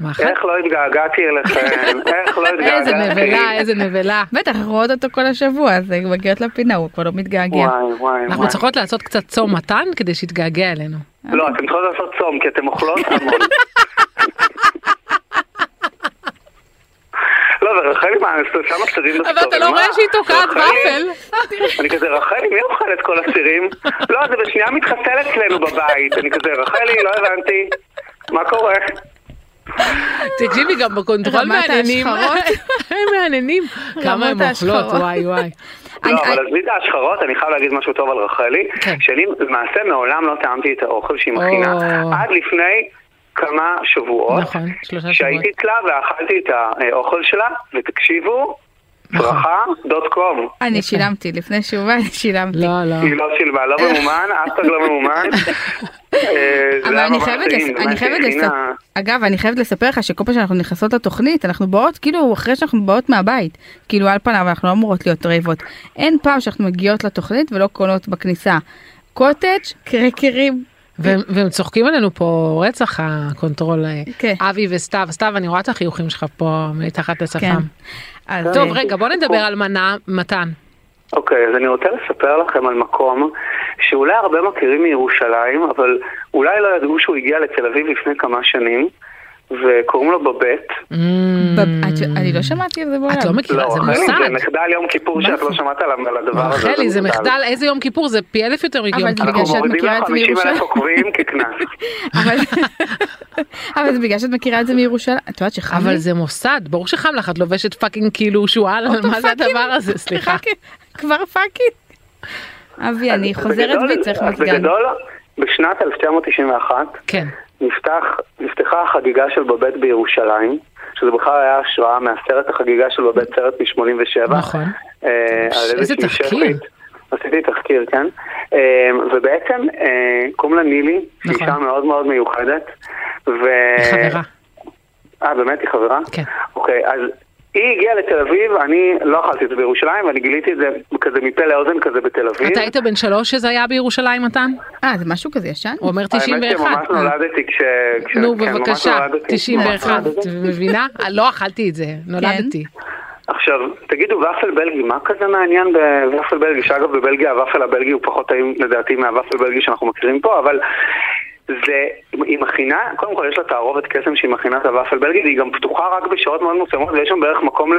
[SPEAKER 2] מה אכלת?
[SPEAKER 5] איך לא התגעגעתי
[SPEAKER 2] <laughs>
[SPEAKER 5] אליכם, איך לא התגעגעתי.
[SPEAKER 2] איזה נבלה, איזה נבלה.
[SPEAKER 3] בטח, אנחנו רואות אותו כל השבוע, אז אה, מגיעות לפינה, הוא כבר לא מתגעגע.
[SPEAKER 5] וואי וואי
[SPEAKER 2] <laughs> אנחנו
[SPEAKER 5] וואי.
[SPEAKER 2] צריכות לעשות קצת צום מתן כדי שיתגעגע אלינו.
[SPEAKER 5] לא, אתם צריכות לעשות צום, כי אתם אוכלות
[SPEAKER 2] <laughs>
[SPEAKER 5] המון. לא, ורחלי, מה, שם הסירים בסטורי?
[SPEAKER 2] אבל אתה לא
[SPEAKER 5] מה?
[SPEAKER 2] רואה שהיא תוקעת
[SPEAKER 5] רחלי?
[SPEAKER 3] אוקיי.
[SPEAKER 2] ופל.
[SPEAKER 5] אני כזה, רחלי, מי אוכל את כל
[SPEAKER 2] <laughs>
[SPEAKER 5] הסירים? לא, זה בשנייה מתחסל אצלנו בבית. אני כזה, רחלי, לא הבנתי. מה קורה?
[SPEAKER 2] תקשיבי, גם בקונטרול
[SPEAKER 3] אה. רמת
[SPEAKER 2] מהנהנים.
[SPEAKER 3] ההשחרות.
[SPEAKER 2] <laughs> הם מהנהנים. כמה הם
[SPEAKER 3] ההשחרות.
[SPEAKER 2] אוכלות, וואי וואי.
[SPEAKER 3] אני-
[SPEAKER 5] לא,
[SPEAKER 3] אני-
[SPEAKER 5] אבל עזבי את ההשחרות, אני חייב להגיד משהו טוב על רחלי,
[SPEAKER 2] כן.
[SPEAKER 5] שאני למעשה מעולם לא טעמתי את האוכל שהיא מכינה.
[SPEAKER 2] או.
[SPEAKER 5] עד לפני כמה שבועות,
[SPEAKER 2] נכון, שלושה שבועות.
[SPEAKER 5] שהייתי אצלה ואכלתי את האוכל שלה, ותקשיבו,
[SPEAKER 2] נכון.
[SPEAKER 5] ברכה.com.
[SPEAKER 3] אני
[SPEAKER 2] יפה.
[SPEAKER 3] שילמתי, לפני שהוא בא, אני שילמתי.
[SPEAKER 2] לא, לא.
[SPEAKER 5] היא לא שילמה, לא
[SPEAKER 3] <laughs>
[SPEAKER 5] ממומן, אף אחד לא ממומן. אה, זה
[SPEAKER 3] אבל
[SPEAKER 5] היה
[SPEAKER 3] אני
[SPEAKER 5] ממש
[SPEAKER 3] חייבת,
[SPEAKER 5] טעים,
[SPEAKER 3] לס-
[SPEAKER 5] זה
[SPEAKER 3] אני
[SPEAKER 5] מה
[SPEAKER 3] חייבת
[SPEAKER 5] שהכינה.
[SPEAKER 3] לספר, אגב, אני חייבת לספר לך שכל פעם שאנחנו נכנסות לתוכנית, אנחנו באות, כאילו, אחרי שאנחנו באות מהבית, כאילו על פניו אנחנו לא אמורות להיות רעבות. אין פעם שאנחנו מגיעות לתוכנית ולא קונות בכניסה. קוטג', קרקרים,
[SPEAKER 2] והם והם צוחקים עלינו פה רצח הקונטרול. אה,
[SPEAKER 3] כן.
[SPEAKER 2] אבי וסתיו, סתיו, אני רואה את החיוכים שלך פה מתחת
[SPEAKER 3] כן.
[SPEAKER 2] לשפם.
[SPEAKER 5] לא,
[SPEAKER 3] אז
[SPEAKER 2] טוב,
[SPEAKER 3] אה,
[SPEAKER 2] רגע, בוא נדבר על מנה, מתן.
[SPEAKER 5] אוקיי, אז אני רוצה לספר לכם על מקום שאולי הרבה מכירים מירושלים, אבל אולי לא ידעו שהוא הגיע לתל אביב לפני כמה שנים, וקוראים לו בבית.
[SPEAKER 3] ב- את- אני לא שמעתי על זה בעולם.
[SPEAKER 2] Mm. את לא מכירה, זה
[SPEAKER 5] רחלי, זה
[SPEAKER 2] מושג.
[SPEAKER 5] מחדל יום כיפור שאת לא שמעת עליו על הדבר הזה.
[SPEAKER 2] רחלי, זה מחדל, איזה יום כיפור, זה פי אלף יותר מגיום.
[SPEAKER 3] בגלל
[SPEAKER 5] אנחנו
[SPEAKER 3] שאת
[SPEAKER 5] מורידים
[SPEAKER 3] מכירה
[SPEAKER 5] לך
[SPEAKER 3] את
[SPEAKER 5] 50
[SPEAKER 3] מירושלים.
[SPEAKER 5] אלף עוקבים
[SPEAKER 3] <laughs>
[SPEAKER 5] כקנס.
[SPEAKER 3] לא- אבל-
[SPEAKER 2] <laughs>
[SPEAKER 3] אבל זה בגלל שאת מכירה את זה מירושלים. את יודעת שחם לי?
[SPEAKER 2] אבל זה מוסד, ברור שחם לך, את לובשת פאקינג כאילו שועל,
[SPEAKER 3] אותו
[SPEAKER 2] מה זה
[SPEAKER 3] פאקינג.
[SPEAKER 2] הדבר
[SPEAKER 3] <laughs>
[SPEAKER 2] הזה, סליחה.
[SPEAKER 3] פאקינג, כבר פאקינג. אבי, כן, אני
[SPEAKER 5] אז
[SPEAKER 3] חוזרת
[SPEAKER 5] בגדול-
[SPEAKER 3] בי, צריך
[SPEAKER 5] אז
[SPEAKER 3] מזגן.
[SPEAKER 5] בגדול, בשנת 1991
[SPEAKER 2] כן,
[SPEAKER 5] נפתח- נפתחה החגיגה של בבית בירושלים, שזה בכלל היה השראה מהסרט החגיגה של בבית, סרט מ-87.
[SPEAKER 2] נכון.
[SPEAKER 5] אה,
[SPEAKER 2] ש-
[SPEAKER 5] על
[SPEAKER 2] איזה
[SPEAKER 5] איזושהי
[SPEAKER 2] תחקיר.
[SPEAKER 5] שפית. עשיתי תחקיר, כן. אה, ובעצם אה, קוראים לה נילי, שהיא
[SPEAKER 2] נכון.
[SPEAKER 5] אישה מאוד מאוד מיוחדת. ו...
[SPEAKER 2] חברה.
[SPEAKER 5] אה, באמת? היא חברה?
[SPEAKER 2] כן.
[SPEAKER 5] אוקיי, אז היא הגיעה לתל אביב, אני לא אכלתי את זה בירושלים, ואני גיליתי את זה כזה מפה לאוזן כזה בתל אביב.
[SPEAKER 2] אתה היית בן שלוש שזה היה בירושלים, מתן?
[SPEAKER 3] אה, זה משהו כזה ישן?
[SPEAKER 2] הוא אומר
[SPEAKER 5] האמת
[SPEAKER 2] 91.
[SPEAKER 5] שממש נולדתי כש... כש-
[SPEAKER 2] נו
[SPEAKER 5] כן, ממש
[SPEAKER 2] בבקשה,
[SPEAKER 5] נולדתי.
[SPEAKER 3] כן.
[SPEAKER 2] 91,
[SPEAKER 5] ממש
[SPEAKER 2] את
[SPEAKER 5] נולדתי.
[SPEAKER 2] מבינה? אה, לא אכלתי את זה, נולדתי.
[SPEAKER 5] עכשיו, תגידו, ופל בלגי, מה כזה מעניין בוופל בלגי? שאגב, בבלגיה הוופל הבלגי הוא פחות טעים לדעתי מהוופל בלגי שאנחנו מכירים פה, אבל זה, היא מכינה, קודם כל יש לה תערובת קסם שהיא מכינה את הוופל בלגי, והיא גם פתוחה רק בשעות מאוד מסוימות, ויש שם בערך מקום ל...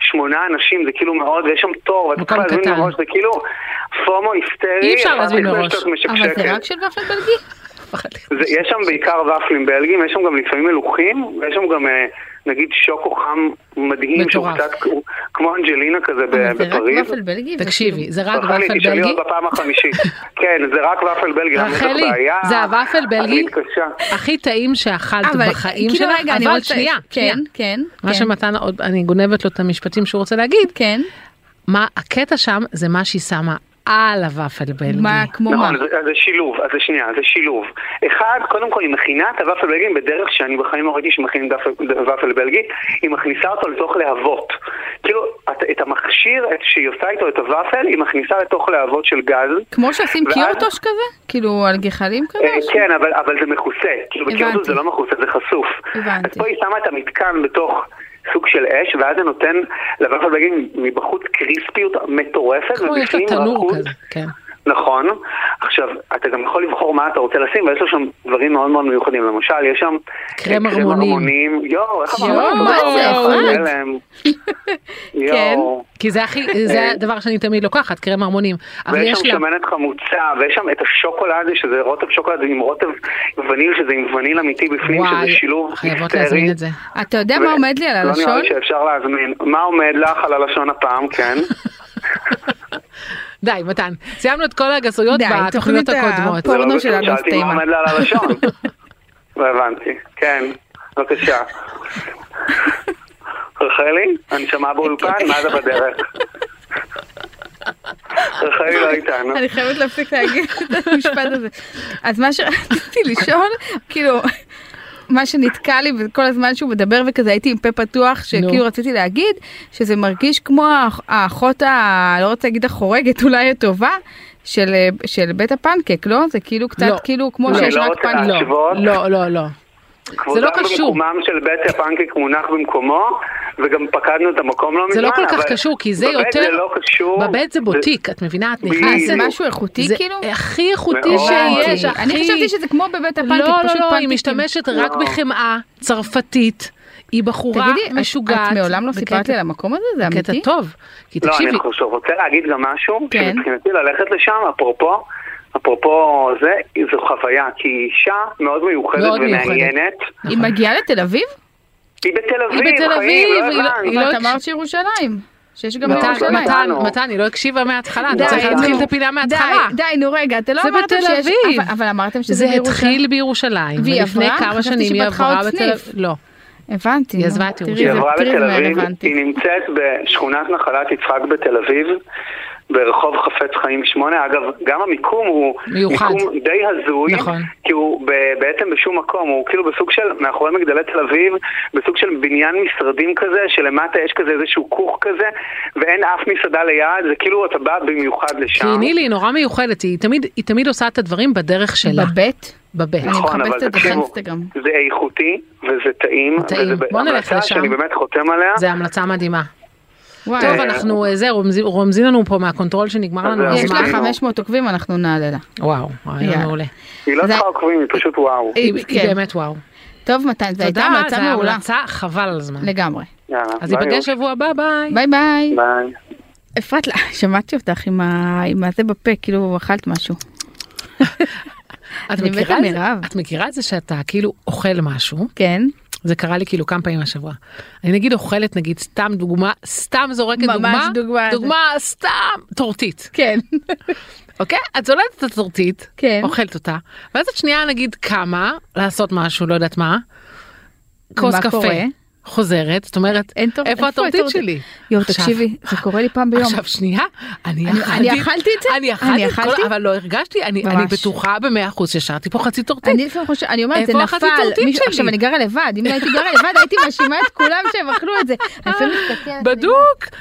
[SPEAKER 5] שמונה אנשים, זה כאילו מאוד, ויש שם תור, ואתה
[SPEAKER 2] מקום
[SPEAKER 5] צריך להזמין
[SPEAKER 2] קטן.
[SPEAKER 5] מראש, זה כאילו פומו היסטרי.
[SPEAKER 2] אי אפשר להזמין
[SPEAKER 5] אחת לפני
[SPEAKER 2] מראש.
[SPEAKER 5] שאת
[SPEAKER 3] אבל
[SPEAKER 5] משקשקת.
[SPEAKER 3] זה רק של ופל בלגי?
[SPEAKER 5] זה, יש שם בעיקר ופלים בלגים, יש שם גם לפעמים מלוכים, ויש שם גם אה, נגיד שוקו חם מדהים, שהוא
[SPEAKER 2] מטורף. אה,
[SPEAKER 5] קצת כמו- כמו אנג'לינה כזה ב-
[SPEAKER 3] אבל זה רק
[SPEAKER 5] בפריז.
[SPEAKER 3] ופל בלגי? זה כאילו-
[SPEAKER 2] תקשיבי, זה רק
[SPEAKER 5] רחלי,
[SPEAKER 2] ופל
[SPEAKER 5] תשאלי
[SPEAKER 2] בלגי?
[SPEAKER 5] עוד בפעם
[SPEAKER 2] <laughs>
[SPEAKER 5] החמישית. כן, זה רק ופל בלגי, למה יש לך
[SPEAKER 2] רחלי,
[SPEAKER 5] בעיה?
[SPEAKER 2] זה הוואפל בלגי?
[SPEAKER 5] אני מתקשה.
[SPEAKER 2] הכי טעים שאכלת
[SPEAKER 3] כאילו- אבל-
[SPEAKER 2] בחיים
[SPEAKER 3] כאילו,
[SPEAKER 2] שלך,
[SPEAKER 3] רגע, אני
[SPEAKER 2] אבל
[SPEAKER 3] רוצה-
[SPEAKER 2] שנייה, שנייה.
[SPEAKER 3] כן, כן.
[SPEAKER 2] מה
[SPEAKER 3] כן,
[SPEAKER 2] שמתן, עוד- אני גונבת לו את המשפטים שהוא רוצה להגיד,
[SPEAKER 3] כן.
[SPEAKER 2] מה הקטע שם זה מה שהיא שמה על הוואפל בלגי.
[SPEAKER 3] מה, כמו מה?
[SPEAKER 5] נכון, זה, אז זה שילוב, אז זה שנייה, זה שילוב. אחד, קודם כל היא מכינה את הוואפל בלגי בדרך שאני בחיים לא ראיתי שמכינים דף- וואפל בלגי, היא מכניסה אותו לתוך להבות. כאילו, את, את המכשיר את, שהיא עושה איתו את הוואפל, היא מכניסה לתוך להבות של גז.
[SPEAKER 3] כמו שעושים
[SPEAKER 5] ואז-
[SPEAKER 3] קיורטוש כזה? כאילו על גחלים כזה?
[SPEAKER 5] אה, כן, אבל, אבל זה מכוסה. כאילו,
[SPEAKER 3] הבנתי.
[SPEAKER 5] בקירדוס זה לא מכוסה, זה חשוף.
[SPEAKER 3] הבנתי.
[SPEAKER 5] אז פה היא שמה את המתקן בתוך סוג של אש, ואז זה נותן לוואפל בלגי מבחוץ קריספיות מטורפת.
[SPEAKER 2] כמו יש לה
[SPEAKER 5] ובפנים
[SPEAKER 2] תנור
[SPEAKER 5] רכות.
[SPEAKER 2] כזה, כן.
[SPEAKER 5] נכון. עכשיו, אתה גם יכול לבחור מה אתה רוצה לשים, ויש לו שם דברים מאוד מאוד מיוחדים. למשל, יש שם... אה,
[SPEAKER 2] קרם הרמונים.
[SPEAKER 5] יואו, איך
[SPEAKER 2] יואו,
[SPEAKER 5] אמרנו?
[SPEAKER 2] מה
[SPEAKER 3] זה, אפרת?
[SPEAKER 2] <laughs>
[SPEAKER 3] כן.
[SPEAKER 5] יואו.
[SPEAKER 2] כי זה הכי, זה הדבר שאני תמיד לוקחת, קרם הרמונים. אבל
[SPEAKER 5] אה. ויש
[SPEAKER 2] יש
[SPEAKER 5] שם
[SPEAKER 2] לה,
[SPEAKER 5] שמנת חמוצה, ויש שם את השוקולד, שזה רוטב שוקולד עם רוטב וניל, שזה עם וניל אמיתי בפנים,
[SPEAKER 2] וואי,
[SPEAKER 5] שזה שילוב
[SPEAKER 2] חייבות
[SPEAKER 5] היסטרי.
[SPEAKER 2] להזמין את זה.
[SPEAKER 3] אתה יודע מה עומד לי על
[SPEAKER 5] לא
[SPEAKER 3] הלשון? <laughs>
[SPEAKER 5] נראה לי שאפשר להזמין. מה עומד לך על הלשון הפעם, כן?
[SPEAKER 2] די, מתן, סיימנו את כל הגסויות
[SPEAKER 3] די,
[SPEAKER 2] בתוכניות
[SPEAKER 3] תוכנית ה-
[SPEAKER 2] הקודמות.
[SPEAKER 5] זה לא
[SPEAKER 3] פורנו
[SPEAKER 5] בסדר,
[SPEAKER 3] שלנו
[SPEAKER 5] שאלתי
[SPEAKER 3] הסתיימה.
[SPEAKER 5] מה עומד לה על
[SPEAKER 3] <laughs>
[SPEAKER 5] הלשון. לא הבנתי, כן, בבקשה. רחלי, הנשמה
[SPEAKER 3] אוקיי.
[SPEAKER 5] באולפן, מה זה
[SPEAKER 3] <laughs>
[SPEAKER 5] בדרך? רחלי לא איתנו.
[SPEAKER 3] אני חייבת להפסיק להגיד את המשפט הזה. אז מה שרציתי לשאול, כאילו, מה שנתקע לי כל הזמן שהוא מדבר וכזה הייתי עם פה פתוח,
[SPEAKER 2] נו.
[SPEAKER 3] שכאילו רציתי להגיד, שזה מרגיש כמו האח- האחות ה... לא רוצה להגיד החורגת, אולי הטובה. של, של בית הפנקק, לא? זה כאילו קצת,
[SPEAKER 2] לא.
[SPEAKER 3] כאילו כמו
[SPEAKER 5] לא,
[SPEAKER 3] שיש
[SPEAKER 5] לא
[SPEAKER 3] רק
[SPEAKER 5] רוצה
[SPEAKER 3] פנקק.
[SPEAKER 2] לא,
[SPEAKER 5] התשובות.
[SPEAKER 2] לא, לא, לא. זה לא
[SPEAKER 5] כבודם
[SPEAKER 2] קשור.
[SPEAKER 5] במקומם של בית הפנקק מונח במקומו, וגם פקדנו את המקום לא מזמן.
[SPEAKER 2] זה לא כל כך
[SPEAKER 5] אבל
[SPEAKER 2] קשור, כי זה
[SPEAKER 5] בבית
[SPEAKER 2] יותר...
[SPEAKER 5] זה לא קשור.
[SPEAKER 2] בבית זה בוטיק, את מבינה? את
[SPEAKER 5] בדיוק.
[SPEAKER 3] אה,
[SPEAKER 2] נכנסת...
[SPEAKER 3] זה משהו איכותי
[SPEAKER 2] זה
[SPEAKER 3] כאילו?
[SPEAKER 2] הכי איכותי
[SPEAKER 5] מאוד.
[SPEAKER 2] שיש, הכי...
[SPEAKER 3] אני חשבתי שזה כמו בבית הפנקק,
[SPEAKER 2] לא,
[SPEAKER 3] פשוט
[SPEAKER 2] לא, לא, היא
[SPEAKER 3] פנקקים.
[SPEAKER 2] משתמשת רק
[SPEAKER 5] לא.
[SPEAKER 2] בחמאה צרפתית, היא בחורה
[SPEAKER 3] תגידי, את-
[SPEAKER 2] משוגעת.
[SPEAKER 3] את מעולם לא
[SPEAKER 2] בקטע-
[SPEAKER 3] סיפרת לי על המקום הזה? זה
[SPEAKER 2] בקטע
[SPEAKER 3] אמיתי?
[SPEAKER 2] טוב, כי
[SPEAKER 5] לא,
[SPEAKER 2] תקשיבי,
[SPEAKER 5] אני חושב, רוצה להגיד גם משהו,
[SPEAKER 3] כן.
[SPEAKER 5] שמבחינתי ללכת לשם, אפרופו, אפרופו זה, זו חוויה, כי היא אישה מאוד מיוחדת
[SPEAKER 2] מאוד מיוחדת.
[SPEAKER 5] ומעניינת.
[SPEAKER 3] היא מגיעה לתל אביב?
[SPEAKER 5] היא בתל אביב,
[SPEAKER 2] היא בתל
[SPEAKER 5] חיים,
[SPEAKER 2] אביב,
[SPEAKER 5] לא
[SPEAKER 2] היא לא-
[SPEAKER 5] הבנת.
[SPEAKER 2] היא לא-
[SPEAKER 3] אבל את אמרת שירושלים. שיש גם
[SPEAKER 5] לא,
[SPEAKER 3] את
[SPEAKER 2] מתן,
[SPEAKER 5] זה
[SPEAKER 3] ירושלים.
[SPEAKER 2] מתן,
[SPEAKER 5] שלנו.
[SPEAKER 2] מתן, היא לא הקשיבה מההתחלה,
[SPEAKER 3] די,
[SPEAKER 2] אתה צריך להתחיל
[SPEAKER 3] נו.
[SPEAKER 2] את הפינה מההתחלה.
[SPEAKER 3] די, די, נו רגע, אתה לא
[SPEAKER 2] זה
[SPEAKER 3] אמרתם
[SPEAKER 2] בתל
[SPEAKER 3] שיש...
[SPEAKER 2] אביב.
[SPEAKER 3] אבל- אבל אמרתם שזה
[SPEAKER 2] זה
[SPEAKER 3] בירושלים.
[SPEAKER 2] התחיל בירושלים,
[SPEAKER 3] והיא
[SPEAKER 2] ולפני
[SPEAKER 3] עברה?
[SPEAKER 2] כמה
[SPEAKER 3] חשבתי
[SPEAKER 2] שנים היא
[SPEAKER 3] שהיא פתחה
[SPEAKER 2] עברה
[SPEAKER 3] עוד
[SPEAKER 2] בתל
[SPEAKER 3] סניף.
[SPEAKER 2] אביב. לא.
[SPEAKER 3] הבנתי.
[SPEAKER 2] היא
[SPEAKER 3] נו,
[SPEAKER 2] עזבה את
[SPEAKER 3] תראי,
[SPEAKER 2] ירושלים.
[SPEAKER 3] זה
[SPEAKER 5] היא עברה
[SPEAKER 3] תראי,
[SPEAKER 5] בתל
[SPEAKER 3] זה
[SPEAKER 5] אביב,
[SPEAKER 3] רלוונטי.
[SPEAKER 5] היא נמצאת בשכונת נחלת יצחק בתל אביב, ברחוב חפץ חיים 8. אגב, גם המיקום הוא
[SPEAKER 2] מיוחד.
[SPEAKER 5] מיקום די הזוי,
[SPEAKER 2] נכון.
[SPEAKER 5] כי הוא ב- בעצם בשום מקום, הוא כאילו בסוג של, מאחורי מגדלי תל אביב, בסוג של בניין משרדים כזה, שלמטה יש כזה איזשהו כוך כזה, ואין אף מסעדה ליד, זה כאילו אתה בא במיוחד לשם.
[SPEAKER 2] כי נילי היא נורא מיוחדת, היא תמיד- היא תמיד עושה את הדברים בדרך שלה,
[SPEAKER 3] בבית?
[SPEAKER 2] בבית.
[SPEAKER 3] אני
[SPEAKER 5] נכון,
[SPEAKER 3] מחפשת
[SPEAKER 5] אבל
[SPEAKER 3] את זה
[SPEAKER 5] תקשיבו,
[SPEAKER 3] באינסטגרם.
[SPEAKER 5] זה איכותי, וזה טעים,
[SPEAKER 2] טעים.
[SPEAKER 5] וזה
[SPEAKER 2] בוא נלך
[SPEAKER 5] בהמלצה
[SPEAKER 2] לשם.
[SPEAKER 5] שאני באמת חותם עליה.
[SPEAKER 2] זו המלצה מדהימה.
[SPEAKER 5] אה.
[SPEAKER 3] וואי,
[SPEAKER 2] טוב, אנחנו, אה, זה, רומזים- רומזים לנו פה מהקונטרול שנגמר לנו
[SPEAKER 5] אז
[SPEAKER 3] יש
[SPEAKER 5] אנחנו-
[SPEAKER 3] לה
[SPEAKER 2] הזמן.
[SPEAKER 3] 500 עוקבים, אנחנו נעלה לה.
[SPEAKER 2] וואו, רעיון
[SPEAKER 3] יאללה.
[SPEAKER 2] מעולה.
[SPEAKER 5] היא לא
[SPEAKER 3] זה-
[SPEAKER 5] צריכה עוקבים, היא פשוט וואו.
[SPEAKER 2] היא
[SPEAKER 3] כן.
[SPEAKER 2] היא באמת וואו.
[SPEAKER 3] טוב, מתן, זו הייתה
[SPEAKER 2] תודה,
[SPEAKER 3] המלצה
[SPEAKER 2] זו
[SPEAKER 3] מעולה.
[SPEAKER 2] המלצה חבל על הזמן.
[SPEAKER 3] לגמרי.
[SPEAKER 5] יאללה,
[SPEAKER 2] אז
[SPEAKER 5] ביי.
[SPEAKER 2] ניפגש שבוע הבא, ביי.
[SPEAKER 3] ביי ביי.
[SPEAKER 5] ביי.
[SPEAKER 3] אפרת, לא, שמעתי אותך עם ה- עם הזה בפה, כאילו אכלת משהו.
[SPEAKER 2] את
[SPEAKER 3] אני
[SPEAKER 2] מכירה
[SPEAKER 3] מתה
[SPEAKER 2] את זה-
[SPEAKER 3] מרעב.
[SPEAKER 2] את מכירה את זה שאתה כאילו אוכל משהו,
[SPEAKER 3] כן.
[SPEAKER 2] זה קרה לי כאילו כמה פעמים השבוע. אני נגיד אוכלת, נגיד סתם דוגמה, סתם זורקת
[SPEAKER 3] ממש
[SPEAKER 2] דוגמה,
[SPEAKER 3] דוגמה.
[SPEAKER 2] דוגמה סתם טורטית,
[SPEAKER 3] כן.
[SPEAKER 2] אוקיי? את זולדת את הטורטית,
[SPEAKER 3] כן.
[SPEAKER 2] אוכלת אותה, ואז את שנייה נגיד קמה לעשות משהו, לא יודעת מה, כוס
[SPEAKER 3] ומה
[SPEAKER 2] קפה,
[SPEAKER 3] קורה?
[SPEAKER 2] חוזרת, זאת אומרת,
[SPEAKER 3] אין טור-
[SPEAKER 2] איפה הטורטית
[SPEAKER 3] הטורטית?
[SPEAKER 2] שלי?
[SPEAKER 3] יואו,
[SPEAKER 2] עכשיו-
[SPEAKER 3] תקשיבי, זה קורה לי פעם ביום.
[SPEAKER 2] עכשיו שנייה, אני
[SPEAKER 3] אני-
[SPEAKER 2] אכלתי,
[SPEAKER 3] אני אכלתי את זה?
[SPEAKER 2] אני אכלתי
[SPEAKER 3] אני
[SPEAKER 2] את כל,
[SPEAKER 3] אכלתי?
[SPEAKER 2] אבל לא הרגשתי, אני,
[SPEAKER 3] ממש.
[SPEAKER 2] אני בטוחה במאה אחוז ששארתי פה חצי טורטית.
[SPEAKER 3] אני לפעמים חושבת, אני אומרת, זה
[SPEAKER 2] איפה החזית
[SPEAKER 3] נפל.
[SPEAKER 2] הטורטית
[SPEAKER 3] מישהו-
[SPEAKER 2] שלי?
[SPEAKER 3] עכשיו, אני גרה לבד, אם לא הייתי גרה לבד, הייתי מאשימה את כולם שהם אכלו
[SPEAKER 2] <laughs>
[SPEAKER 3] את זה. אני לפעמים מסתכלת, אני
[SPEAKER 2] בדוק.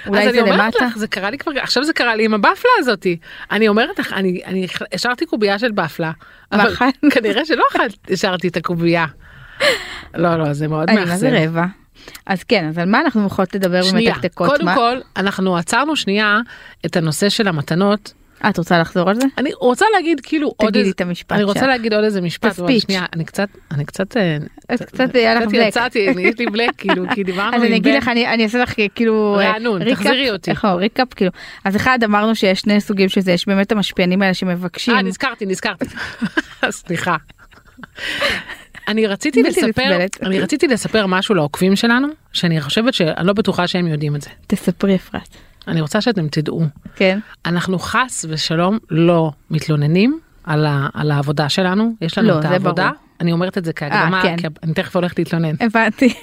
[SPEAKER 3] אולי
[SPEAKER 2] אז
[SPEAKER 3] זה
[SPEAKER 2] אני אומרת
[SPEAKER 3] למטה?
[SPEAKER 2] לך, זה קרה לי כבר, עכשיו זה קרה לי עם הבפלה הזאתי. אני אומרת לך, אני אני השארתי קובייה של בפלה, אבל
[SPEAKER 3] ואכלת.
[SPEAKER 2] <laughs> כנראה שלא אכלת- השארתי את הקובייה. לא, לא, זה מאוד
[SPEAKER 3] אני מה זה
[SPEAKER 2] מאכזב.
[SPEAKER 3] רבע. אז כן, אז על מה אנחנו יכולות לדבר
[SPEAKER 2] שנייה,
[SPEAKER 3] במתקתקות?
[SPEAKER 2] קודם
[SPEAKER 3] מה-
[SPEAKER 2] כל, אנחנו עצרנו שנייה את הנושא של המתנות.
[SPEAKER 3] אה, את רוצה לחזור על זה?
[SPEAKER 2] אני רוצה להגיד כאילו עוד
[SPEAKER 3] תגידי
[SPEAKER 2] איזה,
[SPEAKER 3] את המשפט
[SPEAKER 2] אני רוצה
[SPEAKER 3] שלך.
[SPEAKER 2] להגיד עוד איזה משפט, אבל
[SPEAKER 3] הספיץ'.
[SPEAKER 2] שנייה, אני קצת, אני קצת, אה,
[SPEAKER 3] את קצת, היה לך
[SPEAKER 2] קצת
[SPEAKER 3] בלק.
[SPEAKER 2] יצאתי, אני- יש לי בלק, כאילו, כי דיברנו עם
[SPEAKER 3] <laughs> אז אני אגיד
[SPEAKER 2] בן.
[SPEAKER 3] לך, אני אני אעשה לך כאילו... אה,
[SPEAKER 2] רענון,
[SPEAKER 3] ריקאפ.
[SPEAKER 2] תחזירי אותי.
[SPEAKER 3] איך אומרים, ריקאפ, כאילו. אז אחד, אמרנו שיש שני סוגים של זה, יש באמת המשפיענים האלה שמבקשים.
[SPEAKER 2] אה, נזכרתי, נזכרתי. <laughs> סליחה. אני רציתי
[SPEAKER 3] בלתי
[SPEAKER 2] לספר,
[SPEAKER 3] נסבלת.
[SPEAKER 2] אני רציתי לספר משהו לעוקבים שלנו, שאני חושבת שאני לא בטוחה שהם יודעים את זה.
[SPEAKER 3] תספרי, אפרת.
[SPEAKER 2] אני רוצה שאתם תדעו.
[SPEAKER 3] כן.
[SPEAKER 2] אנחנו חס ושלום לא מתלוננים על, ה, על העבודה שלנו, יש לנו
[SPEAKER 3] לא,
[SPEAKER 2] את
[SPEAKER 3] זה
[SPEAKER 2] העבודה.
[SPEAKER 3] ברור.
[SPEAKER 2] אני אומרת את זה כהקדמה,
[SPEAKER 3] אה, כן.
[SPEAKER 2] כי אני תכף הולכת להתלונן.
[SPEAKER 3] הבנתי.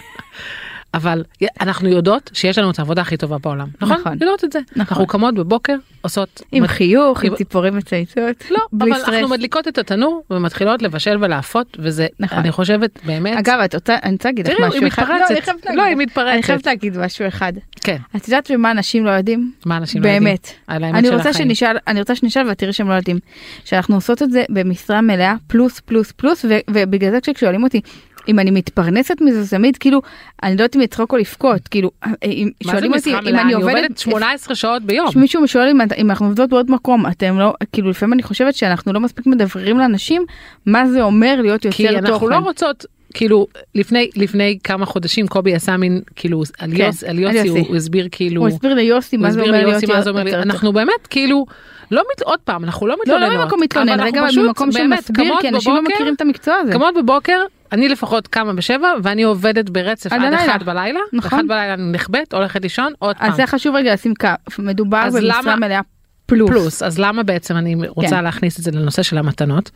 [SPEAKER 2] אבל אנחנו יודעות שיש לנו את העבודה הכי טובה בעולם, נכון?
[SPEAKER 3] נכון.
[SPEAKER 2] יודעות את זה.
[SPEAKER 3] נכון.
[SPEAKER 2] אנחנו קמות בבוקר, עושות...
[SPEAKER 3] עם
[SPEAKER 2] מת-
[SPEAKER 3] חיוך, עם
[SPEAKER 2] עם-
[SPEAKER 3] ציפורים מצייצות.
[SPEAKER 2] לא,
[SPEAKER 3] בלי
[SPEAKER 2] אבל
[SPEAKER 3] סטרס.
[SPEAKER 2] אנחנו מדליקות את התנור ומתחילות לבשל ולהפות, וזה,
[SPEAKER 3] נכון.
[SPEAKER 2] אני חושבת, באמת...
[SPEAKER 3] אגב, את רוצה, אני רוצה להגיד לך
[SPEAKER 2] תראי, היא
[SPEAKER 3] משהו אחד.
[SPEAKER 2] מתפרצת.
[SPEAKER 3] אני חייבת
[SPEAKER 2] לא,
[SPEAKER 3] להגיד.
[SPEAKER 2] היא מתפרצת.
[SPEAKER 3] אני חייבת להגיד משהו אחד.
[SPEAKER 2] כן,
[SPEAKER 3] את יודעת במה אנשים לא יודעים?
[SPEAKER 2] מה אנשים לא יודעים?
[SPEAKER 3] באמת.
[SPEAKER 2] על האמת
[SPEAKER 3] אני
[SPEAKER 2] של
[SPEAKER 3] רוצה
[SPEAKER 2] החיים.
[SPEAKER 3] שנשאל, אני רוצה שנשאל ואת תראי שהם לא יודעים. שאנחנו עושות את זה במשרה מלאה פלוס פלוס פלוס ו- ובגלל זה כששואלים אותי אם אני מתפרנסת מזה זה תמיד כאילו אני לא יודעת אם לצחוק או לבכות כאילו אם
[SPEAKER 2] מה זה
[SPEAKER 3] שואלים אותי
[SPEAKER 2] משרה
[SPEAKER 3] אם
[SPEAKER 2] מלאה?
[SPEAKER 3] אני
[SPEAKER 2] עובדת 18 שעות ביום.
[SPEAKER 3] מישהו שואל אם, אם אנחנו עובדות בעוד מקום אתם לא כאילו לפעמים אני חושבת שאנחנו לא מספיק מדבררים לאנשים מה זה אומר להיות יותר
[SPEAKER 2] כי
[SPEAKER 3] תוכן.
[SPEAKER 2] אנחנו לא רוצות, כאילו, לפני לפני כמה חודשים קובי עשה מין, כאילו, על
[SPEAKER 3] כן,
[SPEAKER 2] יוס- על
[SPEAKER 3] על
[SPEAKER 2] יוסי, הוא
[SPEAKER 3] יוסי.
[SPEAKER 2] הוא הסביר כאילו...
[SPEAKER 3] הוא הסביר ליוסי
[SPEAKER 2] הוא
[SPEAKER 3] מה זה
[SPEAKER 2] הסביר
[SPEAKER 3] אומר
[SPEAKER 2] לי
[SPEAKER 3] להיות
[SPEAKER 2] יוסי מה זה אומר לי,
[SPEAKER 3] יותר תוכן.
[SPEAKER 2] אנחנו באמת כאילו לא מת... עוד פעם אנחנו לא
[SPEAKER 3] לא
[SPEAKER 2] מתלוננות.
[SPEAKER 3] לא ממקום מתלונן
[SPEAKER 2] אבל אנחנו
[SPEAKER 3] רגע אבל
[SPEAKER 2] פשוט
[SPEAKER 3] ממקום
[SPEAKER 2] באמת
[SPEAKER 3] שמסביר
[SPEAKER 2] קמות
[SPEAKER 3] כי אנשים לא
[SPEAKER 2] בבוקר-
[SPEAKER 3] מכירים את המקצוע הזה.
[SPEAKER 2] קמות בבוקר אני לפחות קמה בשבע ואני עובדת ברצף
[SPEAKER 3] עד
[SPEAKER 2] עד
[SPEAKER 3] הלילה.
[SPEAKER 2] אחת בלילה.
[SPEAKER 3] נכון.
[SPEAKER 2] אחת בלילה אני נחבאת הולכת לישון עוד
[SPEAKER 3] אז
[SPEAKER 2] פעם.
[SPEAKER 3] זה חשוב רגע לשים קו, מדובר
[SPEAKER 2] אה. אז
[SPEAKER 3] במשרה
[SPEAKER 2] למה-
[SPEAKER 3] מלאה פלוס.
[SPEAKER 2] פלוס, אז למה בעצם אני רוצה
[SPEAKER 3] כן.
[SPEAKER 2] להכניס את זה לנושא של המתנות?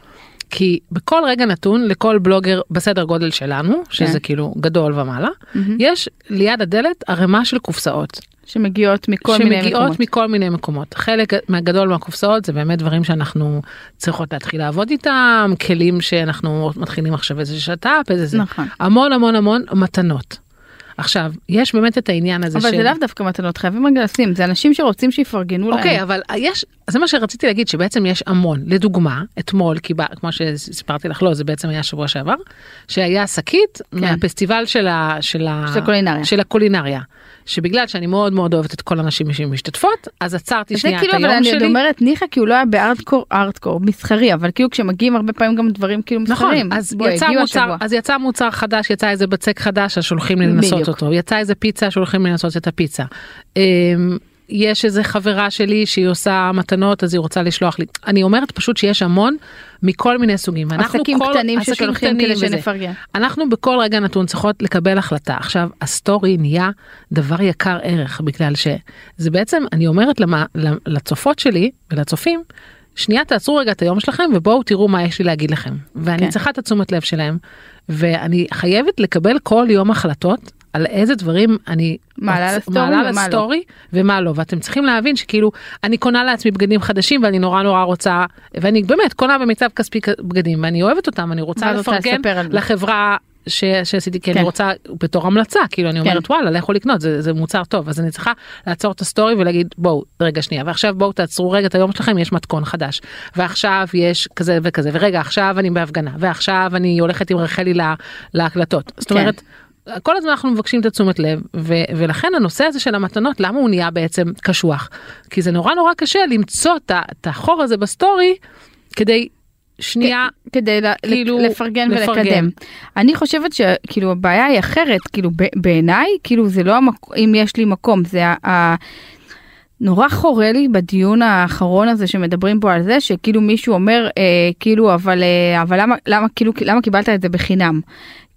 [SPEAKER 2] כי בכל רגע נתון לכל בלוגר בסדר גודל שלנו, שזה
[SPEAKER 3] כן.
[SPEAKER 2] כאילו גדול ומעלה, יש ליד הדלת ערימה של קופסאות.
[SPEAKER 3] שמגיעות מכל מיני מקומות.
[SPEAKER 2] שמגיעות מכל מיני מקומות. חלק מהגדול מהקופסאות זה באמת דברים שאנחנו צריכות להתחיל לעבוד איתם, כלים שאנחנו מתחילים עכשיו איזה שת"פ, איזה זה.
[SPEAKER 3] נכון.
[SPEAKER 2] המון המון המון מתנות. עכשיו, יש באמת את העניין הזה
[SPEAKER 3] אבל
[SPEAKER 2] של...
[SPEAKER 3] זה לאו דווקא מתנות, חייבים רגע לשים, זה אנשים שרוצים שיפרגנו להם.
[SPEAKER 2] אוקיי, אבל יש, זה מה שרציתי להגיד, שבעצם יש המון. לדוגמה, אתמול, קיבל, כמו שסיפרתי לך, לא, זה בעצם היה שבוע שעבר, שהיה שקית מהפסטיבל של, ה, של, ה,
[SPEAKER 3] כן. של הקולינריה.
[SPEAKER 2] של הקולינריה. שבגלל שאני מאוד מאוד אוהבת את כל הנשים שמשתתפות, אז עצרתי
[SPEAKER 3] זה
[SPEAKER 2] שנייה את
[SPEAKER 3] כאילו, אבל
[SPEAKER 2] היום
[SPEAKER 3] אני עוד
[SPEAKER 2] שלי.
[SPEAKER 3] אומרת ניחא, כי הוא לא היה בארדקור, ארדקור, מסחרי, אבל כאילו כשמגיעים הרבה פעמים גם דברים כאילו מסחרים.
[SPEAKER 2] נכון, אז,
[SPEAKER 3] בואי,
[SPEAKER 2] יצא
[SPEAKER 3] הגיעו
[SPEAKER 2] מוצר,
[SPEAKER 3] השבוע.
[SPEAKER 2] אז יצא מוצר חדש, יצא איזה בצק חדש שהולכים לי לנסות
[SPEAKER 3] בדיוק.
[SPEAKER 2] אותו, יצא איזה פיצה שהולכים לי לנסות את הפיצה. אמ, יש איזה חברה שלי שהיא עושה מתנות אז היא רוצה לשלוח לי. אני אומרת פשוט שיש המון מכל מיני סוגים. ואנחנו
[SPEAKER 3] עסקים
[SPEAKER 2] כל-
[SPEAKER 3] קטנים
[SPEAKER 2] עסקים
[SPEAKER 3] ששולחים
[SPEAKER 2] קטנים
[SPEAKER 3] כדי
[SPEAKER 2] וזה.
[SPEAKER 3] שנפרגן.
[SPEAKER 2] אנחנו בכל רגע נתון צריכות לקבל החלטה. עכשיו, הסטורי נהיה דבר יקר ערך, בגלל שזה בעצם, אני אומרת למה, לצופות שלי ולצופים, שנייה תעצרו רגע את היום שלכם ובואו תראו מה יש לי להגיד לכם. ואני
[SPEAKER 3] כן.
[SPEAKER 2] צריכה את התשומת לב שלהם, ואני חייבת לקבל כל יום החלטות. על איזה דברים אני
[SPEAKER 3] מעלה
[SPEAKER 2] מצ-
[SPEAKER 3] לסטורי
[SPEAKER 2] מעלה
[SPEAKER 3] ומה לא.
[SPEAKER 2] לסטורי ומה לא ואתם צריכים להבין שכאילו אני קונה לעצמי בגדים חדשים ואני נורא נורא רוצה ואני באמת קונה במיצב כספי כ- בגדים ואני אוהבת אותם אני רוצה
[SPEAKER 3] ואת רוצה
[SPEAKER 2] לפרגן
[SPEAKER 3] לספר על זה.
[SPEAKER 2] לחברה ש, שעשיתי כי
[SPEAKER 3] כן.
[SPEAKER 2] אני רוצה בתור המלצה כאילו אני
[SPEAKER 3] כן.
[SPEAKER 2] אומרת וואלה לכו לקנות זה, זה מוצר טוב אז אני צריכה לעצור את הסטורי ולהגיד בואו רגע שנייה ועכשיו בואו תעצרו רגע את היום שלכם יש מתכון חדש ועכשיו יש כזה וכזה ורגע עכשיו אני בהפגנה ועכשיו אני הולכת עם רחלי לה, להקלטות זאת
[SPEAKER 3] כן.
[SPEAKER 2] אומרת. כל הזמן אנחנו מבקשים את התשומת לב ו- ולכן הנושא הזה של המתנות למה הוא נהיה בעצם קשוח כי זה נורא נורא קשה למצוא את ה- את החור הזה בסטורי כדי שנייה
[SPEAKER 3] כן. כדי ל-
[SPEAKER 2] כאילו,
[SPEAKER 3] לפרגן
[SPEAKER 2] לפרגן.
[SPEAKER 3] ולקדם. אני חושבת שכאילו הבעיה היא אחרת, כאילו ב- בעיניי, כאילו זה לא המק- אם יש לי מקום, זה ה... ה- נורא חורה לי בדיון האחרון הזה שמדברים פה על זה שכאילו מישהו אומר אה, כאילו אבל אה, אבל למה למה כאילו למה קיבלת את זה בחינם.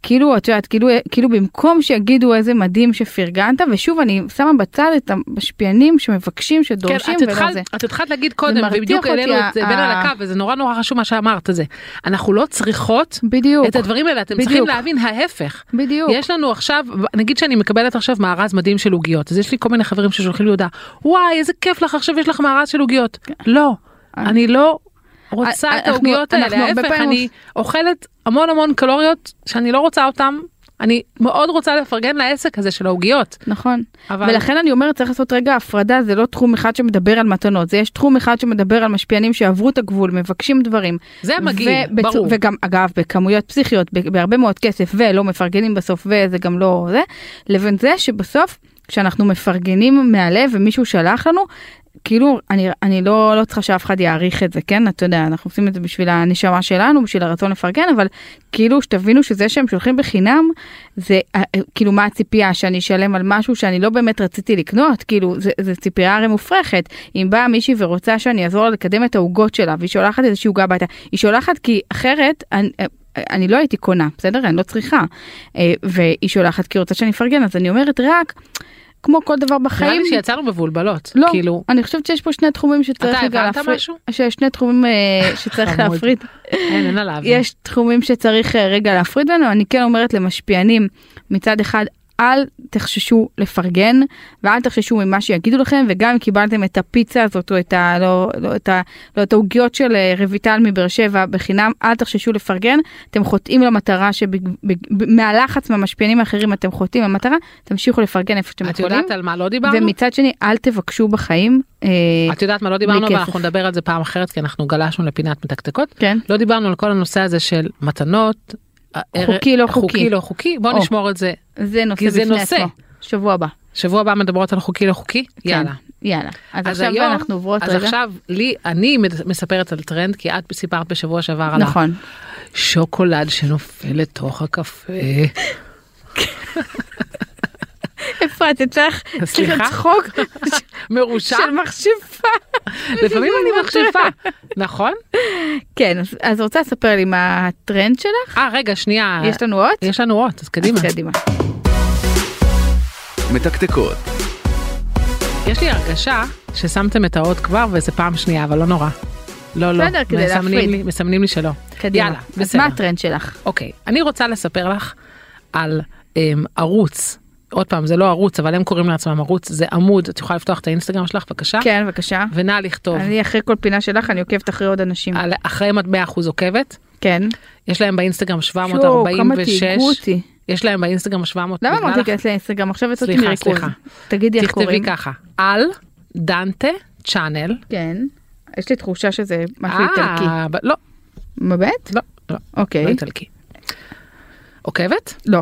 [SPEAKER 3] כאילו את יודעת כאילו כאילו במקום שיגידו איזה מדהים שפרגנת ושוב אני שמה בצד את המשפיענים שמבקשים
[SPEAKER 2] כן,
[SPEAKER 3] שדורשים
[SPEAKER 2] את
[SPEAKER 3] ולא
[SPEAKER 2] התחלת,
[SPEAKER 3] זה.
[SPEAKER 2] את התחלת להגיד קודם,
[SPEAKER 3] מרתיח
[SPEAKER 2] ובדיוק
[SPEAKER 3] אותי
[SPEAKER 2] העלינו את זה
[SPEAKER 3] ה-
[SPEAKER 2] בין על
[SPEAKER 3] ה-
[SPEAKER 2] הקו, וזה נורא נורא חשוב מה שאמרת זה. אנחנו לא צריכות
[SPEAKER 3] בדיוק.
[SPEAKER 2] את הדברים האלה, אתם צריכים
[SPEAKER 3] בדיוק.
[SPEAKER 2] להבין ההפך.
[SPEAKER 3] בדיוק.
[SPEAKER 2] יש לנו עכשיו, נגיד שאני מקבלת עכשיו מארז מדהים של עוגיות, אז יש לי כל מיני חברים ששולחים לי הודעה, וואי, איזה כיף לך, עכשיו יש לך מארז של עוגיות. לא, אני לא רוצה את
[SPEAKER 3] כן. אה, אנחנו-
[SPEAKER 2] העוגיות
[SPEAKER 3] אנחנו
[SPEAKER 2] האלה,
[SPEAKER 3] הרבה
[SPEAKER 2] ההפך,
[SPEAKER 3] פעמים
[SPEAKER 2] אני אוכלת המון המון קלוריות שאני לא רוצה אותן, אני מאוד רוצה לפרגן לעסק הזה של העוגיות.
[SPEAKER 3] נכון.
[SPEAKER 2] אבל-
[SPEAKER 3] אבל... ולכן אני אומרת צריך לעשות רגע הפרדה זה לא תחום אחד שמדבר על מתנות זה יש תחום אחד שמדבר על משפיענים שעברו את הגבול מבקשים דברים.
[SPEAKER 2] זה מגעיל, ברור.
[SPEAKER 3] וגם אגב בכמויות פסיכיות ב- בהרבה מאוד כסף ולא מפרגנים בסוף וזה גם לא זה לבין זה שבסוף כשאנחנו מפרגנים מהלב ומישהו שלח לנו. כאילו אני אני לא לא צריכה שאף אחד יעריך את זה כן אתה יודע אנחנו עושים את זה בשביל הנשמה שלנו בשביל הרצון לפרגן אבל כאילו שתבינו שזה שהם שולחים בחינם זה אה, אה, כאילו מה הציפייה שאני אשלם על משהו שאני לא באמת רציתי לקנות כאילו זה, זה ציפייה הרי מופרכת אם באה מישהי ורוצה שאני אעזור לה לקדם את העוגות שלה והיא שולחת איזושהי עוגה הביתה היא שולחת כי אחרת אני, אה, אני לא הייתי קונה בסדר אני לא צריכה אה, והיא שולחת כי היא רוצה שאני אפרגן אז אני אומרת רק כמו כל דבר
[SPEAKER 2] נראה
[SPEAKER 3] בחיים.
[SPEAKER 2] לי שיצאנו מבולבלות,
[SPEAKER 3] לא,
[SPEAKER 2] כאילו,
[SPEAKER 3] אני חושבת שיש פה שני תחומים שצריך
[SPEAKER 2] אתה
[SPEAKER 3] רגע
[SPEAKER 2] הבנת
[SPEAKER 3] להפריד,
[SPEAKER 2] משהו?
[SPEAKER 3] שיש שני תחומים אה, שצריך
[SPEAKER 2] חמוד.
[SPEAKER 3] להפריד,
[SPEAKER 2] אין, אין עליו.
[SPEAKER 3] יש תחומים שצריך אה, רגע להפריד בינינו, אני כן אומרת למשפיענים, מצד אחד אל תחששו לפרגן ואל תחששו ממה שיגידו לכם וגם אם קיבלתם את הפיצה הזאת או את ה... לא, לא, את ה... לא, את העוגיות של אה, רויטל מבאר שבע בחינם אל תחששו לפרגן אתם חוטאים למטרה שמהלחץ מהמשפיענים האחרים אתם חוטאים למטרה תמשיכו לפרגן איפה שאתם
[SPEAKER 2] את
[SPEAKER 3] יכולים.
[SPEAKER 2] יודעת על מה לא דיברנו?
[SPEAKER 3] ומצד שני אל תבקשו בחיים. אה,
[SPEAKER 2] את יודעת מה לא דיברנו, אבל
[SPEAKER 3] מכסף.
[SPEAKER 2] אנחנו נדבר על זה פעם אחרת, כי אנחנו גלשנו לפינת מתקתקות.
[SPEAKER 3] כן.
[SPEAKER 2] לא דיברנו על כל הנושא הזה של מתנות. הערך-
[SPEAKER 3] חוקי, לא
[SPEAKER 2] חוקי
[SPEAKER 3] חוקי.
[SPEAKER 2] לא חוקי, בוא
[SPEAKER 3] או.
[SPEAKER 2] נשמור את זה.
[SPEAKER 3] זה נושא
[SPEAKER 2] כי זה
[SPEAKER 3] בפני
[SPEAKER 2] נושא.
[SPEAKER 3] עצמו. שבוע הבא.
[SPEAKER 2] שבוע הבא מדברות על חוקי לא חוקי? יאללה.
[SPEAKER 3] כן, יאללה. אז,
[SPEAKER 2] אז
[SPEAKER 3] עכשיו
[SPEAKER 2] היום-
[SPEAKER 3] אנחנו עוברות
[SPEAKER 2] אז
[SPEAKER 3] רגע.
[SPEAKER 2] עכשיו לי, אני מד- מספרת על טרנד, כי את סיפרת בשבוע שעבר על
[SPEAKER 3] נכון.
[SPEAKER 2] השוקולד שנופל לתוך
[SPEAKER 3] <laughs>
[SPEAKER 2] הקפה.
[SPEAKER 3] אפרת, יצא לך
[SPEAKER 2] סליחה? <laughs>
[SPEAKER 3] צחוק
[SPEAKER 2] מרושע?
[SPEAKER 3] של מחשבה.
[SPEAKER 2] לפעמים אני מחשיפה, נכון?
[SPEAKER 3] כן, אז- אז רוצה לספר לי מה הטרנד שלך?
[SPEAKER 2] אה, רגע, שנייה.
[SPEAKER 3] יש לנו עוד?
[SPEAKER 2] יש לנו עוד, אז קדימה.
[SPEAKER 3] קדימה.
[SPEAKER 4] מתקתקות,
[SPEAKER 2] יש לי הרגשה ששמתם את האות כבר וזה פעם שנייה, אבל לא נורא. לא, לא.
[SPEAKER 3] בסדר, כדי
[SPEAKER 2] מסמנים
[SPEAKER 3] להפריד.
[SPEAKER 2] לי- מסמנים לי שלא.
[SPEAKER 3] קדימה.
[SPEAKER 2] יאללה,
[SPEAKER 3] אז
[SPEAKER 2] בסדר.
[SPEAKER 3] מה הטרנד שלך?
[SPEAKER 2] אוקיי, אני רוצה לספר לך על אמ, ערוץ, עוד פעם, זה לא ערוץ, אבל הם קוראים לעצמם ערוץ, זה עמוד, את יכולה לפתוח את האינסטגרם שלך בבקשה?
[SPEAKER 3] כן, בבקשה.
[SPEAKER 2] ונא לכתוב,
[SPEAKER 3] אני אחרי כל פינה שלך, אני עוקבת אחרי עוד אנשים.
[SPEAKER 2] על, אחרי מטבע אחוז עוקבת,
[SPEAKER 3] כן.
[SPEAKER 2] יש להם באינסטגרם
[SPEAKER 3] שואו, כמה תהיגו
[SPEAKER 2] 746,
[SPEAKER 3] אותי.
[SPEAKER 2] יש להם באינסטגרם 700,
[SPEAKER 3] למה
[SPEAKER 2] נגמר
[SPEAKER 3] אמרת
[SPEAKER 2] לך?
[SPEAKER 3] להיכנס לאינסטגרם? עכשיו יצאתי
[SPEAKER 2] סליחה,
[SPEAKER 3] מריכוז.
[SPEAKER 2] סליחה.
[SPEAKER 3] תגידי איך
[SPEAKER 2] תכתבי
[SPEAKER 3] קוראים.
[SPEAKER 2] ככה, על דנטה צ'אנל,
[SPEAKER 3] כן. יש לי תחושה שזה משהו איטלקי.
[SPEAKER 2] אה, ב- לא,
[SPEAKER 3] באמת?
[SPEAKER 2] לא, לא,
[SPEAKER 3] אוקיי.
[SPEAKER 2] לא איטלקי. עוקבת?
[SPEAKER 3] לא.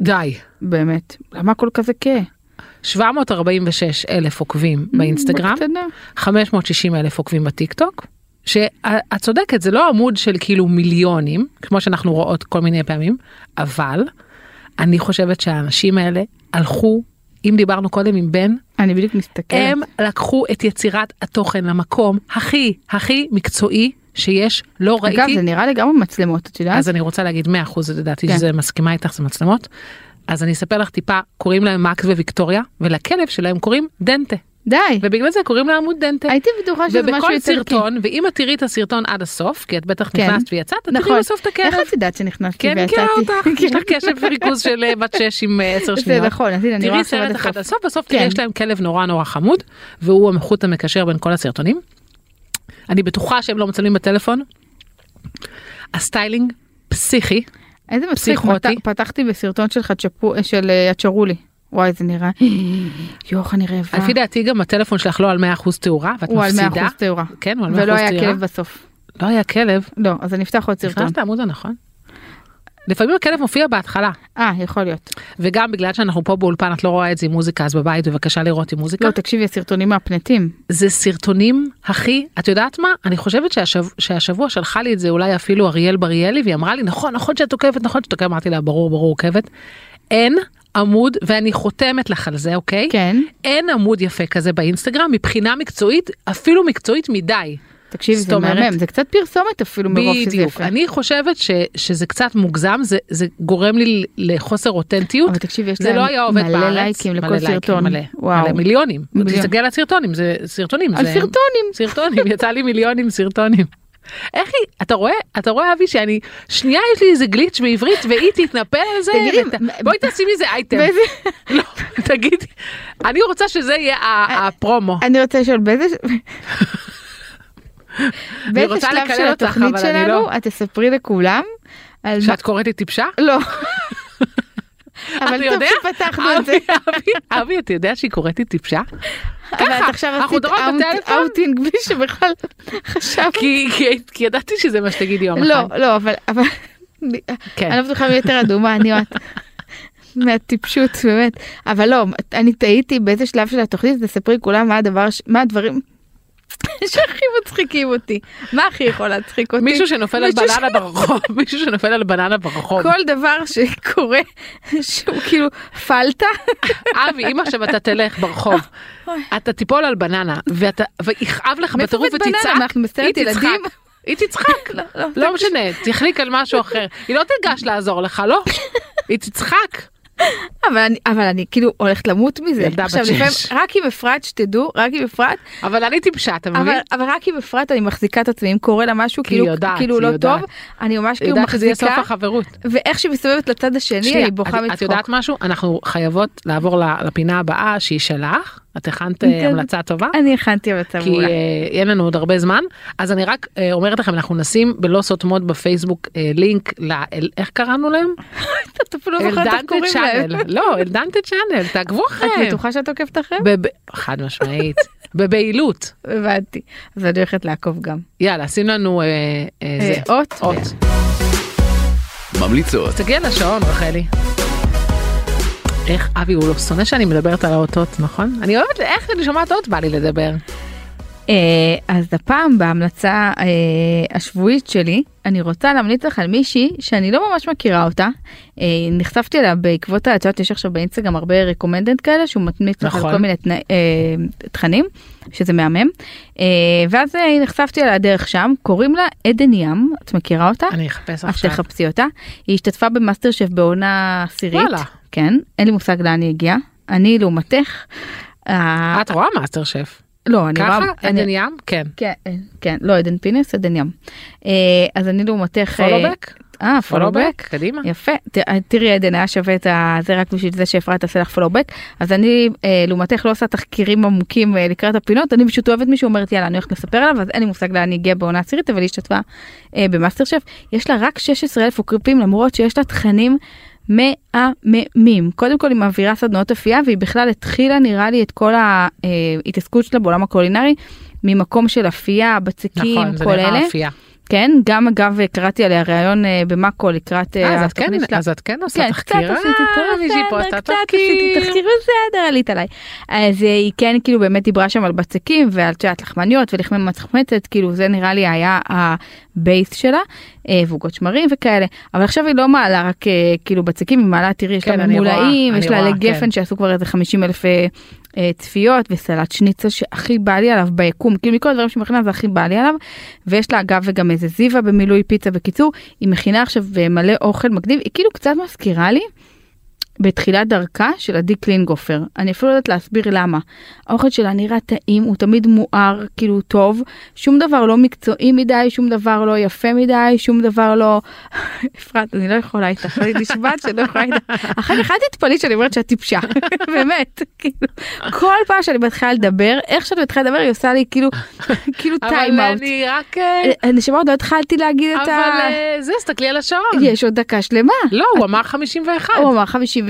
[SPEAKER 2] די.
[SPEAKER 3] באמת. למה הכל כזה כה?
[SPEAKER 2] Mm, 746 אלף עוקבים
[SPEAKER 3] Mm,
[SPEAKER 2] באינסטגרם,
[SPEAKER 3] בקטנה.
[SPEAKER 2] 560 אלף עוקבים בטיקטוק. שאת צודקת זה לא עמוד של כאילו מיליונים כמו שאנחנו רואות כל מיני פעמים אבל אני חושבת שהאנשים האלה הלכו אם דיברנו קודם עם בן
[SPEAKER 3] אני בדיוק מסתכלת.
[SPEAKER 2] הם לקחו את יצירת התוכן למקום הכי הכי מקצועי שיש לא ראיתי
[SPEAKER 3] אגב, זה נראה לגמרי מצלמות, את יודעת?
[SPEAKER 2] אז אני רוצה להגיד 100% לדעתי
[SPEAKER 3] כן.
[SPEAKER 2] שזה מסכימה איתך זה מצלמות. אז אני אספר לך טיפה קוראים להם מקס וויקטוריה ולכלב שלהם קוראים דנטה
[SPEAKER 3] די.
[SPEAKER 2] ובגלל זה קוראים לעמוד דנטה.
[SPEAKER 3] הייתי בטוחה שזה משהו
[SPEAKER 2] ובכל
[SPEAKER 3] איטלקי.
[SPEAKER 2] סרטון ואם את תראי את הסרטון עד הסוף כי את בטח
[SPEAKER 3] כן.
[SPEAKER 2] נכנסת ויצאת את
[SPEAKER 3] נכון.
[SPEAKER 2] תראי בסוף את הכלב.
[SPEAKER 3] איך את יודעת שנכנסתי
[SPEAKER 2] כן,
[SPEAKER 3] ויצאתי?
[SPEAKER 2] מכירה
[SPEAKER 3] <laughs>
[SPEAKER 2] אותך, יש לך קשב וריכוז של אה, בת 6 עם 10 שניות.
[SPEAKER 3] זה נכון, אז הנה, אני רואה
[SPEAKER 2] תראי
[SPEAKER 3] עכשיו
[SPEAKER 2] סרט
[SPEAKER 3] עד
[SPEAKER 2] אחד
[SPEAKER 3] הסוף.
[SPEAKER 2] לסוף, בסוף תראי
[SPEAKER 3] כן.
[SPEAKER 2] יש להם כלב נורא נורא חמוד, והוא החוט המקשר בין כל הסרטונים. אני בטוחה שהם לא מצלמים בטלפון. הסטיילינג פסיכי,
[SPEAKER 3] איזה מצחיק,
[SPEAKER 2] פסיכוטי.
[SPEAKER 3] מת- פתחתי בסרטון של חצ'פו, אה, של אה, הצ'רולי. וואי, זה
[SPEAKER 2] <laughs>
[SPEAKER 3] נראה... יוח, אני רעבה.
[SPEAKER 2] לפי דעתי גם הטלפון שלך לא על 100% תאורה, ואת
[SPEAKER 3] אה. הוא על
[SPEAKER 2] מפסידה.
[SPEAKER 3] 100% תאורה.
[SPEAKER 2] כן, הוא על 100%
[SPEAKER 3] ולא היה
[SPEAKER 2] תאורה.
[SPEAKER 3] כלב בסוף.
[SPEAKER 2] לא היה כלב.
[SPEAKER 3] לא, אז אני אפתח עוד סרטון.
[SPEAKER 2] נכנסת לעמוד הנכון. לפעמים הכלב מופיע בהתחלה,
[SPEAKER 3] אה, יכול להיות.
[SPEAKER 2] וגם בגלל שאנחנו פה באולפן את לא רואה את זה עם מוזיקה, אז בבית בבקשה לראות עם מוזיקה.
[SPEAKER 3] לא, תקשיבי, הסרטונים מהפנטים.
[SPEAKER 2] זה סרטונים הכי את יודעת מה אני חושבת שהשב, שהשבוע שלחה לי את זה אולי אפילו אריאל בריאלי והיא אמרה לי נכון נכון שאת עוקבת נכון שאת עוקבת אמרתי לה ברור ברור עוקבת. אין עמוד ואני חותמת לך על זה אוקיי
[SPEAKER 3] כן.
[SPEAKER 2] אין עמוד יפה כזה באינסטגרם מבחינה מקצועית אפילו מקצועית מדי.
[SPEAKER 3] תקשיבי,
[SPEAKER 2] זאת
[SPEAKER 3] זה
[SPEAKER 2] אומרת-
[SPEAKER 3] מהמם. זה קצת פרסומת אפילו מרוב שזה יפה.
[SPEAKER 2] בדיוק אני חושבת ש, שזה קצת מוגזם זה זה גורם לי לחוסר אותנטיות.
[SPEAKER 3] אבל תקשיבי, יש
[SPEAKER 2] זה לא
[SPEAKER 3] להם
[SPEAKER 2] היה עובד
[SPEAKER 3] מלא
[SPEAKER 2] בארץ.
[SPEAKER 3] לייקים
[SPEAKER 2] מלא
[SPEAKER 3] לכל
[SPEAKER 2] לייקים,
[SPEAKER 3] סרטון.
[SPEAKER 2] מלא,
[SPEAKER 3] וואו.
[SPEAKER 2] מלא מיליונים.
[SPEAKER 3] מיליון.
[SPEAKER 2] תסתכל על הסרטונים, זה סרטונים.
[SPEAKER 3] על
[SPEAKER 2] זה-
[SPEAKER 3] סרטונים.
[SPEAKER 2] סרטונים, יצא לי מיליונים סרטונים. איך היא, אתה רואה, אתה רואה אבי שאני, שנייה יש לי איזה גליץ' בעברית והיא תתנפל על זה,
[SPEAKER 3] תגידי,
[SPEAKER 2] ות-
[SPEAKER 3] מ-
[SPEAKER 2] בואי תעשי מזה אייטם.
[SPEAKER 3] באיזה-
[SPEAKER 2] לא, תגידי, אני רוצה שזה יהיה
[SPEAKER 3] אה,
[SPEAKER 2] ה- הפרומו.
[SPEAKER 3] אני רוצה לשאול באיזה... <laughs> באיזה
[SPEAKER 2] רוצה
[SPEAKER 3] שלב
[SPEAKER 2] לקלל
[SPEAKER 3] של
[SPEAKER 2] אותך,
[SPEAKER 3] התוכנית
[SPEAKER 2] אבל אני
[SPEAKER 3] שלנו
[SPEAKER 2] לא.
[SPEAKER 3] את תספרי לכולם על מה...
[SPEAKER 2] שאת קוראת לי טיפשה?
[SPEAKER 3] <laughs> לא.
[SPEAKER 2] אתה
[SPEAKER 3] אבל טוב
[SPEAKER 2] יודע?
[SPEAKER 3] שפתחנו את זה.
[SPEAKER 2] אבי, אבי, אבי, אתה יודע שהיא קוראת לי טיפשה?
[SPEAKER 3] אבל את עכשיו
[SPEAKER 2] אנחנו
[SPEAKER 3] עשית
[SPEAKER 2] מדברות
[SPEAKER 3] אאוט-
[SPEAKER 2] בטלפון?
[SPEAKER 3] אאוטינג בלי שבכלל חשבת.
[SPEAKER 2] כי כי- כי ידעתי שזה מה שתגידי יום אחד.
[SPEAKER 3] לא, לא, אבל... אבל-
[SPEAKER 2] כן.
[SPEAKER 3] אני לא בטוחה מי יותר אדומה, אני או את. <laughs> מהטיפשות באמת אבל לא אני תהיתי באיזה שלב של התוכנית תספרי כולם מה הדבר ש- מה הדברים <laughs> שהכי מצחיקים אותי מה הכי יכול להצחיק אותי
[SPEAKER 2] מישהו שנופל על
[SPEAKER 3] מישהו ש-
[SPEAKER 2] בננה ברחוב, <laughs> מישהו שנופל על בננה ברחוב.
[SPEAKER 3] כל דבר שקורה <laughs> שהוא כאילו פלטה
[SPEAKER 2] אבי, אם עכשיו אתה תלך ברחוב, אתה תיפול על בננה, ואתה- ויכאב לך
[SPEAKER 3] מאיפה
[SPEAKER 2] בטירוף
[SPEAKER 3] הבאת בננה?
[SPEAKER 2] ותצעק,
[SPEAKER 3] אנחנו בסרט
[SPEAKER 2] היא תצחק.
[SPEAKER 3] ילדים?
[SPEAKER 2] היא תצחק, לא משנה, תחליק על משהו אחר. היא לא תיגש לעזור לך, לא. היא תצחק.
[SPEAKER 3] אבל אני אבל אני כאילו הולכת למות מזה
[SPEAKER 2] ילדה בת
[SPEAKER 3] עכשיו
[SPEAKER 2] שש.
[SPEAKER 3] לפעמים רק עם אפרת שתדעו רק עם אפרת
[SPEAKER 2] אבל אני טיפשה, אתה מבין?
[SPEAKER 3] אבל, אבל רק אם אפרת אני מחזיקה את עצמי אם קורה לה משהו
[SPEAKER 2] כי היא
[SPEAKER 3] כאילו,
[SPEAKER 2] יודעת,
[SPEAKER 3] כאילו
[SPEAKER 2] היא
[SPEAKER 3] לא
[SPEAKER 2] יודעת.
[SPEAKER 3] טוב אני ממש
[SPEAKER 2] היא
[SPEAKER 3] כאילו
[SPEAKER 2] יודעת שזה יהיה סוף
[SPEAKER 3] מחזיקה
[SPEAKER 2] החברות.
[SPEAKER 3] ואיך שהיא מסתובבת לצד השני
[SPEAKER 2] שנייה,
[SPEAKER 3] אני בוכה
[SPEAKER 2] את-
[SPEAKER 3] מצחוק.
[SPEAKER 2] את יודעת משהו? אנחנו חייבות לעבור ל- לפינה הבאה שהיא שלך. את הכנת אה,
[SPEAKER 3] כן.
[SPEAKER 2] המלצה טובה?
[SPEAKER 3] אני הכנתי מצב
[SPEAKER 2] כי
[SPEAKER 3] מעולה. <laughs>
[SPEAKER 2] אה, אין לנו עוד הרבה זמן אז אני רק אה, אומרת לכם אנחנו נשים בלא סותמות בפייסבוק אה, לינק ל... אל- איך קראנו להם?
[SPEAKER 3] את אפילו לא זוכרת איך
[SPEAKER 2] אלדנטה
[SPEAKER 3] קוראים להם.
[SPEAKER 2] צ'אנל. לא אלדנטה צ'אנל תעקבו
[SPEAKER 3] את
[SPEAKER 2] אחריהם.
[SPEAKER 3] בטוחה שאת עוקבת אחריהם?
[SPEAKER 2] בב- חד משמעית בבהילות
[SPEAKER 3] הבנתי. אז אני הולכת לעקוב גם.
[SPEAKER 2] יאללה שים לנו אה, אה,
[SPEAKER 3] אה,
[SPEAKER 2] זה.
[SPEAKER 3] אות?
[SPEAKER 2] אות.
[SPEAKER 4] ממליצות,
[SPEAKER 2] תגיע לשעון רחלי. איך אבי הוא לא שונא שאני מדברת על האותות נכון? אני אוהבת איך אני שומעת אות בא לי לדבר.
[SPEAKER 3] אה, אז הפעם בהמלצה אה, השבועית שלי, אני רוצה להמליץ לך על מישהי שאני לא ממש מכירה אותה. אה, נחשפתי אליה בעקבות, ה- את יודעת, יש עכשיו באינסטגרם הרבה רקומנדנט כאלה שהוא מתמיץ לך על
[SPEAKER 2] נכון.
[SPEAKER 3] כל מיני תנא- אה, תכנים, שזה מהמם. אה, ואז אה, נחשפתי אליה דרך שם, קוראים לה עדן ים, את מכירה אותה?
[SPEAKER 2] אני אחפש
[SPEAKER 3] אז
[SPEAKER 2] עכשיו.
[SPEAKER 3] תחפשי אותה. היא השתתפה במאסטר שף בעונה עשירית.
[SPEAKER 2] וואלה.
[SPEAKER 3] כן, אין לי מושג לאן היא הגיעה. אני לעומתך. אה,
[SPEAKER 2] את רואה מאסטר שף.
[SPEAKER 3] לא, אני
[SPEAKER 2] ככה?
[SPEAKER 3] רואה... אני-
[SPEAKER 2] עדן ים? כן.
[SPEAKER 3] כן, כן, לא עדן פינס, עדן ים. אה, אז אני לעומתך...
[SPEAKER 2] פולובק?
[SPEAKER 3] אה,
[SPEAKER 2] פולובק?
[SPEAKER 3] פולובק.
[SPEAKER 2] קדימה.
[SPEAKER 3] יפה, ת- אה, תראי עדן היה שווה את ה- זה רק בשביל זה שאפרת תעשה לך פולובק אז אני אה, לעומתך לא עושה תחקירים עמוקים אה, לקראת הפינות אני פשוט אוהבת מישהו אומרת יאללה אני הולכת לספר עליו אז אין לי מושג לאן היא הגיעה בעונה עשירית אבל היא השתתפה אה, במאסטר שף יש לה רק 16 אלף עוקרים למרות שיש לה תכנים מהממים קודם כל היא מעבירה סדנאות אפייה והיא בכלל התחילה נראה לי את כל ההתעסקות שלה בעולם הקולינרי ממקום של אפייה בצקים
[SPEAKER 2] נכון, זה
[SPEAKER 3] כל אלה.
[SPEAKER 2] נראה אפייה.
[SPEAKER 3] כן, גם אגב קראתי עליה ראיון אה, במאקו לקראת אה,
[SPEAKER 2] אה, אז את כן-
[SPEAKER 3] התוכנית שלה.
[SPEAKER 2] אז את כן עושה תחקיר.
[SPEAKER 3] קצת עשיתי
[SPEAKER 2] אה, מישהי פה
[SPEAKER 3] בסדר,
[SPEAKER 2] עשתה
[SPEAKER 3] קצת עשיתי תחקיר, בסדר, עלית עליי. אז אה, היא כן כאילו באמת דיברה שם על בצקים ועל תשעת לחמניות ולחמי מצחמצת, כאילו זה נראה לי היה הבייס שלה, אה, ועוגות שמרים וכאלה. אבל עכשיו היא לא מעלה רק אה, כאילו בצקים, היא מעלה, תראי, יש
[SPEAKER 2] כן,
[SPEAKER 3] לה
[SPEAKER 2] אני רואה,
[SPEAKER 3] ממולאים,
[SPEAKER 2] אני
[SPEAKER 3] יש לה
[SPEAKER 2] רואה,
[SPEAKER 3] עלי
[SPEAKER 2] כן.
[SPEAKER 3] גפן שעשו כבר איזה 50 אלף אה, צפיות וסלט שניצל שהכי בא לי עליו ביקום כאילו מכל הדברים שמכינה זה הכי בא לי עליו ויש לה אגב וגם איזה זיווה במילוי פיצה בקיצור היא מכינה עכשיו אה, מלא אוכל מגניב היא כאילו קצת מזכירה לי. בתחילת דרכה של עדי קלינגופר אני אפילו לא יודעת להסביר למה האוכל שלה נראה טעים הוא תמיד מואר כאילו טוב שום דבר לא מקצועי מדי שום דבר לא יפה מדי שום דבר לא <laughs> אפרת אני לא יכולה איתך אני נשבעת שלא יכולה איתך אחר כך אל תתפלאי שאני אומרת שאת טיפשה <laughs> באמת כאילו כל פעם שאני מתחילה לדבר איך שאני מתחילה לדבר היא עושה לי כאילו <laughs> כאילו
[SPEAKER 2] אבל
[SPEAKER 3] טיים אאוט.
[SPEAKER 2] אני רק... אה,
[SPEAKER 3] נשמה עוד לא התחלתי להגיד את ה...
[SPEAKER 2] אבל אה, זה, תסתכלי על השעון.
[SPEAKER 3] יש עוד דקה שלמה.
[SPEAKER 2] לא, הוא אמר 51.
[SPEAKER 3] הוא אמר 52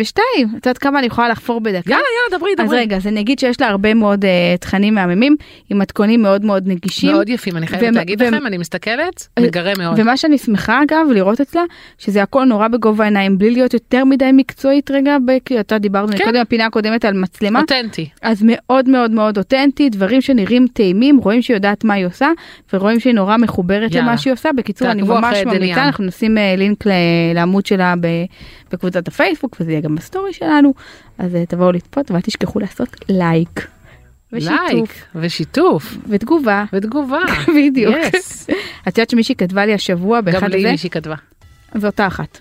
[SPEAKER 3] את יודעת כמה אני יכולה לחפור בדקה.
[SPEAKER 2] יאללה, יאללה, דברי,
[SPEAKER 3] אז
[SPEAKER 2] דברי.
[SPEAKER 3] רגע אז אני אגיד שיש לה הרבה מאוד אה, תכנים מהממים עם מתכונים מאוד מאוד נגישים.
[SPEAKER 2] מאוד יפים, אני חייבת
[SPEAKER 3] והם-
[SPEAKER 2] להגיד
[SPEAKER 3] והם-
[SPEAKER 2] לכם, אני מסתכלת,
[SPEAKER 3] אה,
[SPEAKER 2] מגרה מאוד.
[SPEAKER 3] ומה שאני שמחה אגב לראות אצלה שזה הכל נורא בגובה העיניים בלי להיות יותר מדי מקצועית רגע כי אתה דיברנו
[SPEAKER 2] כן.
[SPEAKER 3] קודם הפינה הקודמת על מצלמה
[SPEAKER 2] אותנטי.
[SPEAKER 3] אז מאוד מאוד מאוד אותנטי דברים שנראים טעימים רואים שהיא יודעת מה היא עושה ורואים שהיא נורא מחוברת
[SPEAKER 2] יאללה.
[SPEAKER 3] למה שהיא עושה בקיצור אני
[SPEAKER 2] תעקבו
[SPEAKER 3] ממש
[SPEAKER 2] אחרי דניאל.
[SPEAKER 3] ממליצה אנחנו נשים אה, לינק ל- לעמוד שלה ב- בקבוצת הפייסבוק וזה יהיה גם בסטורי שלנו אז אה, תבואו לצפות ואל תשכחו לעשות לייק.
[SPEAKER 2] לייק,
[SPEAKER 3] ושיתוף
[SPEAKER 2] ושיתוף,
[SPEAKER 3] ותגובה.
[SPEAKER 2] ותגובה.
[SPEAKER 3] <laughs> בדיוק.
[SPEAKER 2] אה, Yes.
[SPEAKER 3] את יודעת שמישהי כתבה לי השבוע
[SPEAKER 2] גם
[SPEAKER 3] באחד
[SPEAKER 2] לי
[SPEAKER 3] הזה,
[SPEAKER 2] מישהי כתבה.
[SPEAKER 3] זו אותה אחת. <laughs>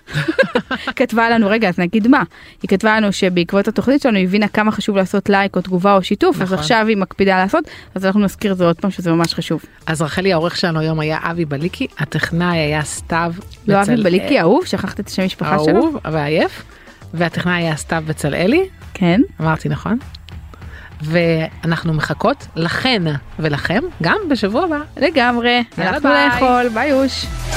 [SPEAKER 3] כתבה לנו, רגע, אז נגיד מה? היא כתבה לנו שבעקבות התוכנית שלנו היא הבינה כמה חשוב לעשות לייק או תגובה או שיתוף, אז
[SPEAKER 2] נכון.
[SPEAKER 3] עכשיו היא מקפידה לעשות, אז אנחנו נזכיר את זה עוד פעם שזה ממש חשוב.
[SPEAKER 2] אז רחלי העורך שלנו היום היה אבי בליקי, הטכנאי היה סתיו
[SPEAKER 3] לא
[SPEAKER 2] בצל-
[SPEAKER 3] אבי בליקי אהוב, שכחת את השם המשפחה שלו?
[SPEAKER 2] אהוב ועייף, והטכנאי היה סתיו בצלאלי,
[SPEAKER 3] כן.
[SPEAKER 2] אמרתי נכון? ואנחנו מחכות לכן ולכם גם בשבוע הבא.
[SPEAKER 3] לגמרי, הלכנו
[SPEAKER 2] ביי.
[SPEAKER 3] לאכול, ביי אוש.